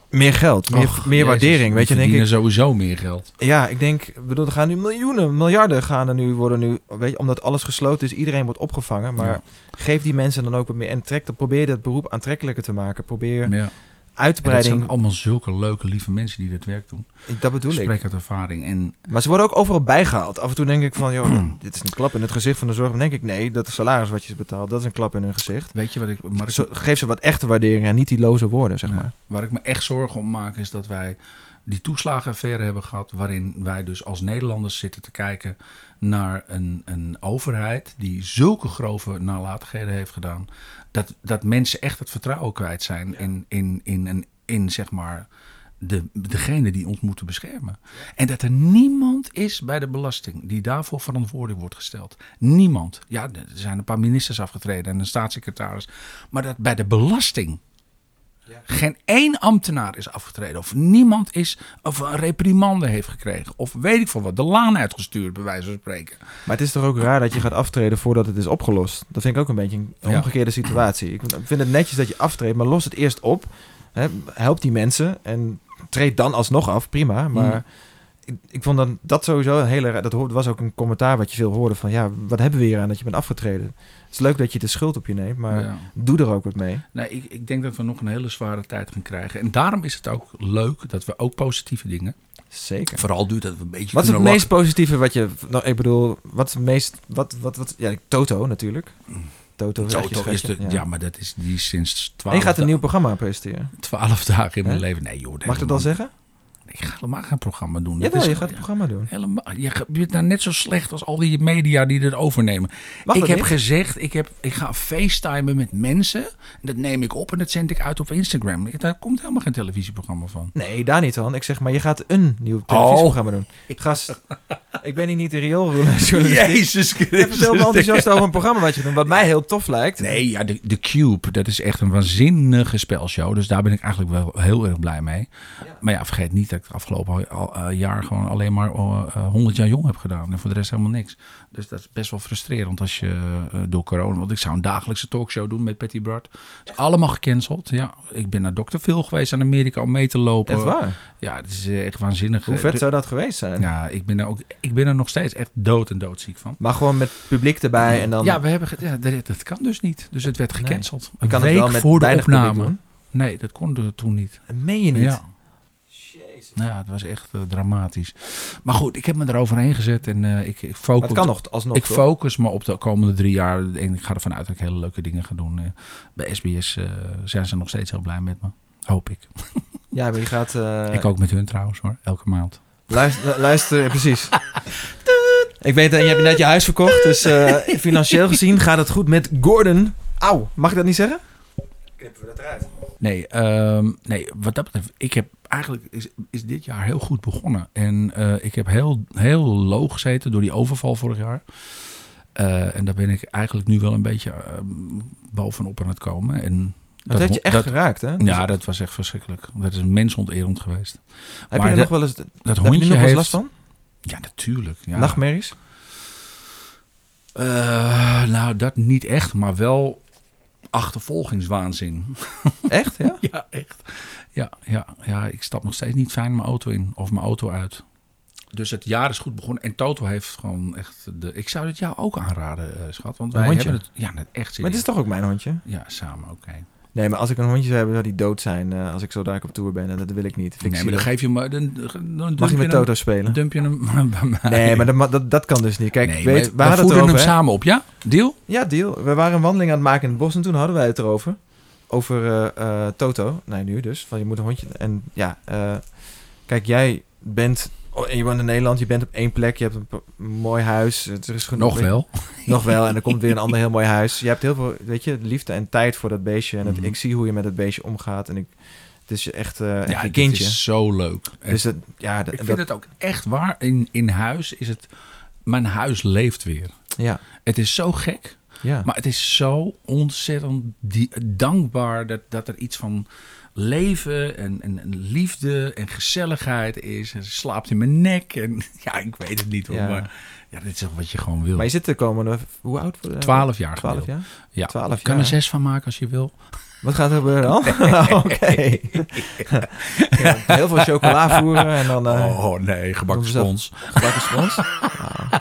meer geld, meer, Och, meer Jezus, waardering, weet je, die dan denk ik. verdienen sowieso meer geld. Ja, ik denk, ik bedoel, er gaan nu miljoenen, miljarden gaan er nu worden nu, weet je, omdat alles gesloten is, iedereen wordt opgevangen. Maar Ja. geef die mensen dan ook wat meer en trek, dan probeer dat beroep aantrekkelijker te maken. Probeer Ja. En dat uitbreiding. zijn allemaal zulke leuke, lieve mensen die dit werk doen. Dat, bedoel ik. Spreek uit ervaring. En Maar ze worden ook overal bijgehaald. Af en toe denk ik van, joh, dit is een klap in het gezicht van de zorg. Dan denk ik, nee, dat salaris wat je betaalt, dat is een klap in hun gezicht. Dus weet je wat ik... Mark, Zo, geef ze wat echte waardering en niet die loze woorden, zeg Ja. maar. Waar ik me echt zorgen om maak is dat wij die toeslagenaffaire hebben gehad. Waarin wij dus als Nederlanders zitten te kijken naar een, een overheid die zulke grove nalatigheden heeft gedaan. Dat, dat mensen echt het vertrouwen kwijt zijn in, in, in, in, in zeg maar. De, degene die ons moeten beschermen. En dat er niemand is bij de belasting die daarvoor verantwoordelijk wordt gesteld. Niemand. Ja, er zijn een paar ministers afgetreden en een staatssecretaris. Maar dat bij de belasting geen één ambtenaar is afgetreden. Of niemand is. Of een reprimande heeft gekregen. Of weet ik veel wat. De laan uitgestuurd, bij wijze van spreken. Maar het is toch ook raar dat je gaat aftreden voordat het is opgelost. Dat vind ik ook een beetje een Ja. omgekeerde situatie. Ik vind het netjes dat je aftreedt, maar los het eerst op. Hè, help die mensen en treed dan alsnog af, prima. Maar Mm. ik, ik vond dan dat sowieso een hele raar... Dat ho- was ook een commentaar wat je veel hoorde van... Ja, wat hebben we hier aan dat je bent afgetreden? Het is leuk dat je de schuld op je neemt, maar Ja. doe er ook wat mee. Nee, ik, ik denk dat we nog een hele zware tijd gaan krijgen. En daarom is het ook leuk dat we ook positieve dingen. Zeker. Vooral duurt dat we een beetje. Wat is het kunnen meest positieve wat je... Nou, ik bedoel, wat is het meest... Wat, wat, wat, ja, Toto natuurlijk. Toto, lachen. is echt je Toto is de, schatje, ja. maar dat is die sinds En 12, je gaat een da- nieuw programma presenteren. 12 dagen in mijn Hè? leven. Nee, joh. Mag ik dat al helemaal- zeggen? Ik ga helemaal geen programma doen. Jawel, Dat is je gaat het gewoon- programma doen. Helemaal, je ge- je bent nou net zo slecht als al die media die dit overnemen. Mag ik dat heb niet? gezegd, ik, heb, ik ga facetimen met mensen. En dat neem ik op en dat zend ik uit op Instagram. Daar komt helemaal geen televisieprogramma van. Nee, daar niet van. Ik zeg maar, je gaat een Oh. nieuw televisieprogramma doen. Gast, ik ben hier niet de riooljournalist. Jezus Ik heb zo enthousiast over een programma wat je doet, wat mij heel tof lijkt. Nee, ja, de, de Cube, dat is echt een waanzinnige spelshow. Dus daar ben ik eigenlijk wel heel erg blij mee. Maar ja, vergeet niet dat ik het afgelopen al- al- eh, jaar gewoon alleen maar eh, eh, 100 jaar jong heb gedaan. En voor de rest helemaal niks. Dus dat is best wel frustrerend als je eh, door corona... Want ik zou een dagelijkse talkshow doen met Patty Bart. is allemaal gecanceld. Ja, ik ben naar Dr. Phil geweest aan Amerika om mee te lopen. Echt waar. Ja, het is eh, echt waanzinnig. Hoe Eh, vet de- zou dat geweest zijn? Ja, ik ben, er ook, ik ben er nog steeds echt dood en doodziek van. Maar gewoon met publiek erbij en dan... Ja, we hebben ge- ja, dat, dat kan dus niet. Dus het werd Nee. gecanceld. je Een kan week het wel met voor de weinig publiek opname. doen. Nee, dat kon er toen niet. Dat meen je niet. Ja. Nou, ja, het was echt eh, dramatisch. Maar goed, ik heb me eroverheen gezet en eh, ik, ik Maar het focus, kan nog, alsnog. ik toch? focus me op de komende drie jaar. En ik ga ervan uit dat ik hele leuke dingen ga doen. Eh, Bij SBS eh, zijn ze nog steeds heel blij met me. Hoop ik. Ja, maar je gaat... eh, ik ook met hun trouwens hoor, elke maand. Luister, eh, luister ja, precies. Ik weet, dat je hebt net je huis verkocht, dus eh, financieel gezien gaat het goed met Gordon. Au, mag ik dat niet zeggen? Knippen we dat eruit. Nee, ehm, nee, wat dat betreft, ik heb eigenlijk is, is dit jaar heel goed begonnen. En eh, ik heb heel, heel low gezeten door die overval vorig jaar. Eh, en daar ben ik eigenlijk nu wel een beetje ehm, bovenop aan het komen. En Dat, heeft je echt dat- geraakt, hè? ja, dat was echt verschrikkelijk. Dat is mensonterend geweest. heb maar je er dat- nog wel eens, heb Dat je er nog hondje wel eens heeft... last van? Ja, natuurlijk. Ja. Nachtmerries? Eh, nou, dat niet echt, maar wel achtervolgingswaanzin. Echt, ja? Ja, echt. Ja, ja, ja, ik stap nog steeds niet fijn mijn auto in of mijn auto uit. Dus het jaar is goed begonnen. En Toto heeft gewoon echt de. Ik zou dit jou ook aanraden, eh, schat. Want Een wij hondje? hebben het. Ja, net echt Maar serieus. het is toch ook mijn hondje? Ja, samen, oké. Nee, maar als ik een hondje zou hebben, zou die dood zijn eh, als ik zo dadelijk op tour ben. En dat wil ik niet. Vind ik Nee, maar dan zielig. geef je hem. eh, Dan, dan dump Mag je je met hem- Toto spelen? dump je hem bij mij. Nee, maar dat, ma- dat, dat kan dus niet. Kijk, Nee, weet, maar we we hadden het voeden erover, hem hè? samen op, ja? Deal? Ja, deal. We waren een wandeling aan het maken in het bos en toen hadden wij het erover. Over eh, eh, Toto. Nee, nu dus. Van je moet een hondje. En ja, eh, kijk, jij bent. oh, en je woont in Nederland, je bent op één plek, je hebt een p- mooi huis. Het is genoeg, Nog wel. Nog wel. En er komt weer een ander heel mooi huis. Je hebt heel veel, weet je, liefde en tijd voor dat beestje. En het- Mhm. ik zie hoe je met dat beestje omgaat. En ik, het is je echt, eh, echt Ja, je dit kindje. is zo leuk. Dus dat, ja, dat, ik vind dat- het ook echt waar. In, in huis is het. Mijn huis leeft weer. ja, Het is zo gek. ja. Maar het is zo ontzettend die- dankbaar dat, dat er iets van leven en, en, en liefde en gezelligheid is. En ze slaapt in mijn nek. En, ja, ik weet het niet hoor. Ja. Maar ja, dit is toch wat je gewoon wil. Maar je zit de komende, hoe oud? eh, 12 jaar 12 gemiddeld. jaar? Ja. 12 Ik kan er jaar. zes van maken als je wil. Wat gaat er gebeuren dan? Oké. Ja, Heel veel chocola voeren en dan eh oh nee, doen gebakken we zo. spons. gebakken spons. Wauw.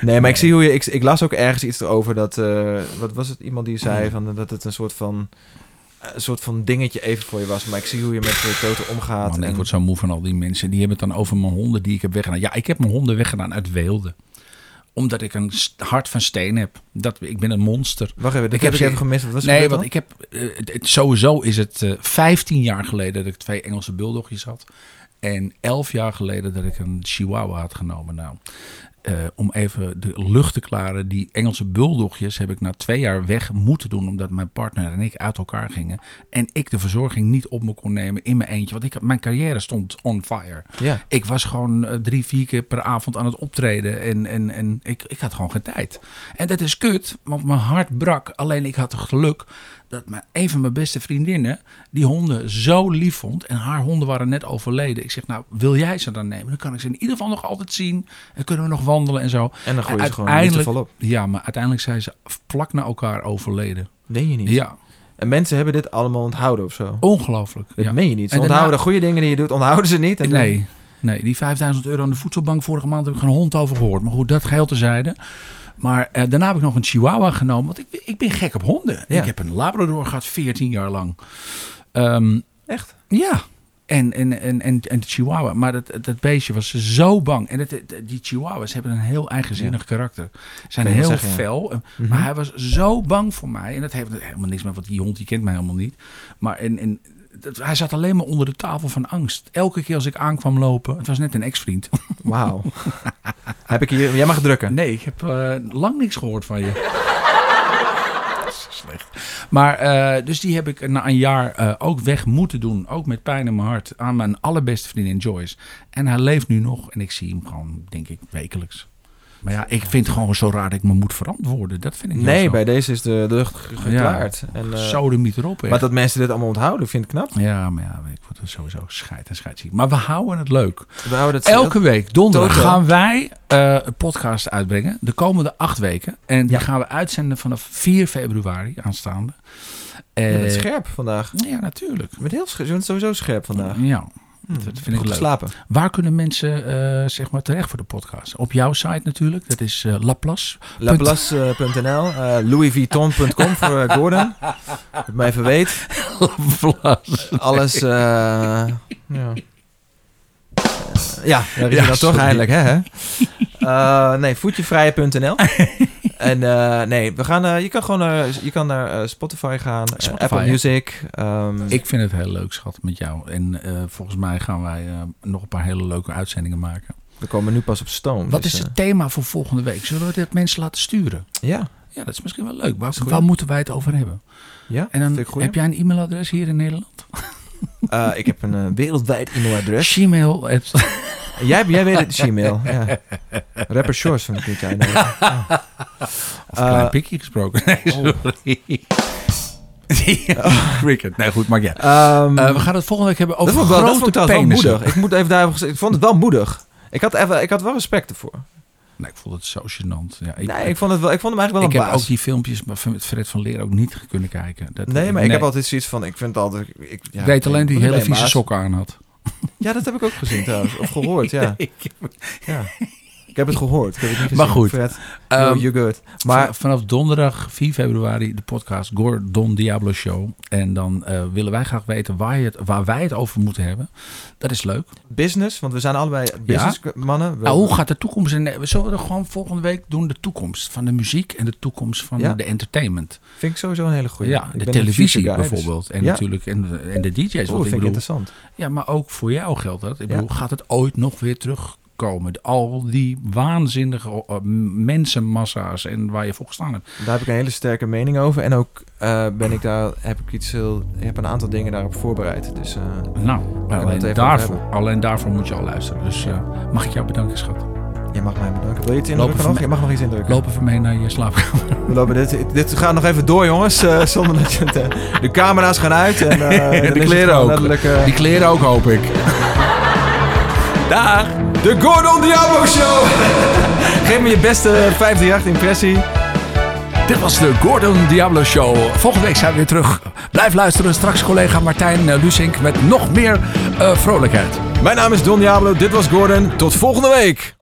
Nee, maar ik zie hoe je... Ik, ik las ook ergens iets erover dat... eh, wat was het? Iemand die zei van, eh, dat het een soort van... eh, Een soort van dingetje even voor je was. Maar ik zie hoe je met de toten omgaat. Man, en, Oh, ik word zo moe van al die mensen. Die hebben het dan over mijn honden die ik heb weggedaan. Ja, ik heb mijn honden weggedaan uit Weelde. Omdat ik een st- hart van steen heb. Dat, ik ben een monster. Wacht even, dat Ik heb heb ik ze- even gemist. Wat was nee, nee, want ik heb. eh, het- het- sowieso is het eh 15 jaar geleden dat ik twee Engelse bulldogjes had. En 11 jaar geleden dat ik een Chihuahua had genomen. Nou, eh, om even de lucht te klaren. Die Engelse bulldogjes heb ik na twee jaar weg moeten doen. Omdat mijn partner en ik uit elkaar gingen. En ik de verzorging niet op me kon nemen in mijn eentje. Want ik, had- mijn carrière stond on fire. Ja. Ik was gewoon eh, drie, vier keer per avond aan het optreden. En, en, en ik, ik had gewoon geen tijd. En dat is kut, want mijn hart brak. Alleen ik had het geluk dat mijn, een van mijn beste vriendinnen die honden zo lief vond. En haar honden waren net overleden. Ik zeg, nou, wil jij ze dan nemen? Dan kan ik ze in ieder geval nog altijd zien. En kunnen we nog wandelen en zo. En dan gooi je ze gewoon niet te Uiteindelijk- vol op. Ja, maar uiteindelijk zijn ze plak naar elkaar overleden. Meen je niet. Ja, En mensen hebben dit allemaal onthouden of zo. ongelooflijk. Dat Ja. meen je niet. Ze En daarna- onthouden de goede dingen die je doet, onthouden ze niet. En dan- Nee, nee, die 5000 euro aan de voedselbank vorige maand heb ik geen hond over gehoord. Maar goed, dat geheel tezijde. Maar eh, daarna heb ik nog een chihuahua genomen. Want ik, ik ben gek op honden. Ja. Ik heb een labrador gehad 14 jaar lang. Ehm, Echt? ja. En, en, en, en, en de chihuahua. Maar dat, dat beestje was zo bang. En het, het- die chihuahuas hebben een heel eigenzinnig karakter. Zijn Kan je wel heel zeggen, ja. Mhm. fel. En- Maar hij was zo bang voor mij. En dat heeft helemaal niks met... Want die hond die kent mij helemaal niet. Maar en, en, dat, hij zat alleen maar onder de tafel van angst. Elke keer als ik aankwam lopen... Het was net een ex-vriend. Wauw. heb ik hier... Jij mag drukken. Nee, ik heb eh, lang niks gehoord van je. Dat is Slecht. Maar eh, dus die heb ik na een jaar eh, ook weg moeten doen. Ook met pijn in mijn hart. Aan mijn allerbeste vriendin Joyce. En hij leeft nu nog. En ik zie hem gewoon, denk ik, wekelijks. Maar ja, ik vind het gewoon zo raar dat ik me moet verantwoorden. Dat vind ik heel Nee, zo. bij deze is de lucht ge- geklaard. En, eh, Zo de miet erop. echt. maar dat mensen dit allemaal onthouden, vind ik knap. Ja, maar ja, ik word er sowieso scheid en scheidsziek. Maar we houden het leuk. We houden het Elke week, donderdag, Toto. gaan wij eh, een podcast uitbrengen. De komende acht weken. En die Ja. gaan we uitzenden vanaf 4 februari aanstaande. Je Eh, bent scherp vandaag. ja, natuurlijk. Je bent, heel scherp, je bent sowieso scherp vandaag. Ja, Hm, dat Mm, vind ik goed leuk. slapen. Waar kunnen mensen eh, zeg maar terecht voor de podcast? Op jouw site natuurlijk. Dat is eh, Laplace. Laplace.nl, eh louisvuitton.com voor eh, Gordon. Dat mij even weet. Laplace. Alles, eh, ja. Ja, daar is Ja, hij dan toch sorry. eindelijk, hè? hè? Eh, nee, voetjevrije.nl. en eh, nee, we gaan, eh, je kan gewoon naar, je kan naar eh, Spotify gaan, eh, Spotify, Apple ja. Music. ehm, Ik vind het heel leuk, schat, met jou. En eh, volgens mij gaan wij eh, nog een paar hele leuke uitzendingen maken. we komen nu pas op Stone. Wat dus, is eh, het thema voor volgende week? Zullen we dat mensen laten sturen? ja, Ja, dat is misschien wel leuk. Waar, is goed. waar moeten wij het over hebben? ja. En dan vind ik goed. heb jij een e-mailadres hier in Nederland? Eh, ik heb een eh, wereldwijd e-mailadres. Gmail. Eh, Het- Jij, jij weet het, Gmail. Ja. Rapper Shores van het jij Eh, Of klein pikje gesproken. Nee, oh. ehm, sorry. Cricket. Nee, goed, maar ja. Eh, we gaan het volgende week hebben Mm. dat vond over ik wel, dat vond ik grote trouwens wel penissen. moedig. Ik, moet even daarover gezegd, ik vond het wel moedig. Ik had, even, ik had wel respect ervoor. Nee, ik vond het zo gênant. Ja, ik, nee, ik vond, het wel, ik vond hem eigenlijk wel ik een heb baas. ook die filmpjes maar van- met Fred van Leer ook niet kunnen kijken. Dat- Nee, maar ik heb altijd zoiets van, ik vind het altijd... Ik, ja, Ik weet alleen ik die moet hele alleen vieze baas. sokken aan had. Ja, dat heb ik ook gezien trouwens. Of gehoord, ja. ja. Ik heb het gehoord. Ik heb het niet gezien. Maar goed. Fred, Ehm, you're good. Maar Maar vanaf donderdag 4 februari de podcast Gordon Diablo Show. En dan eh, willen wij graag weten waar, je het, waar wij het over moeten hebben. Dat is leuk. business, want we zijn allebei businessmannen. We- Nou, hoe gaat de toekomst? En eh, zullen we er gewoon volgende week doen de toekomst van de muziek en de toekomst van Ja. de entertainment? Vind ik sowieso een hele goede. ja, de televisie bijvoorbeeld. En Ja. natuurlijk en, de- en de Oh, DJ's. wat vind ik ik bedoel. interessant. Ja, maar ook voor jou geldt dat. Ik Ja. bedoel, gaat het ooit nog weer terugkomen? Al die waanzinnige eh, mensenmassa's en waar je voor gestaan hebt. Daar heb ik een hele sterke mening over. En ook eh, ben ik daar, heb ik iets heel, heb een aantal dingen daarop voorbereid. Dus eh, Nou, het even alleen over daarvoor, hebben. alleen daarvoor moet je al luisteren. Dus eh, mag ik jou bedanken, schat? je mag mij bedanken. Wil je iets indrukken van nog? mij. Je mag nog iets indrukken. Loop even mee naar je slaapkamer. We lopen dit, dit gaat nog even door, jongens. eh, zonder dat je het, eh, de camera's gaan uit. En, eh, dan is het kleren gewoon ook. Letterlijk, eh, Die kleren ook, hoop ik. Dag! de Gordon Diablo Show! Geef me je beste 538-impressie. Dit was de Gordon Diablo Show. Volgende week zijn we weer terug. Blijf luisteren. Straks collega Martijn eh, Lusink met nog meer eh, vrolijkheid. Mijn naam is Don Diablo. Dit was Gordon. Tot volgende week!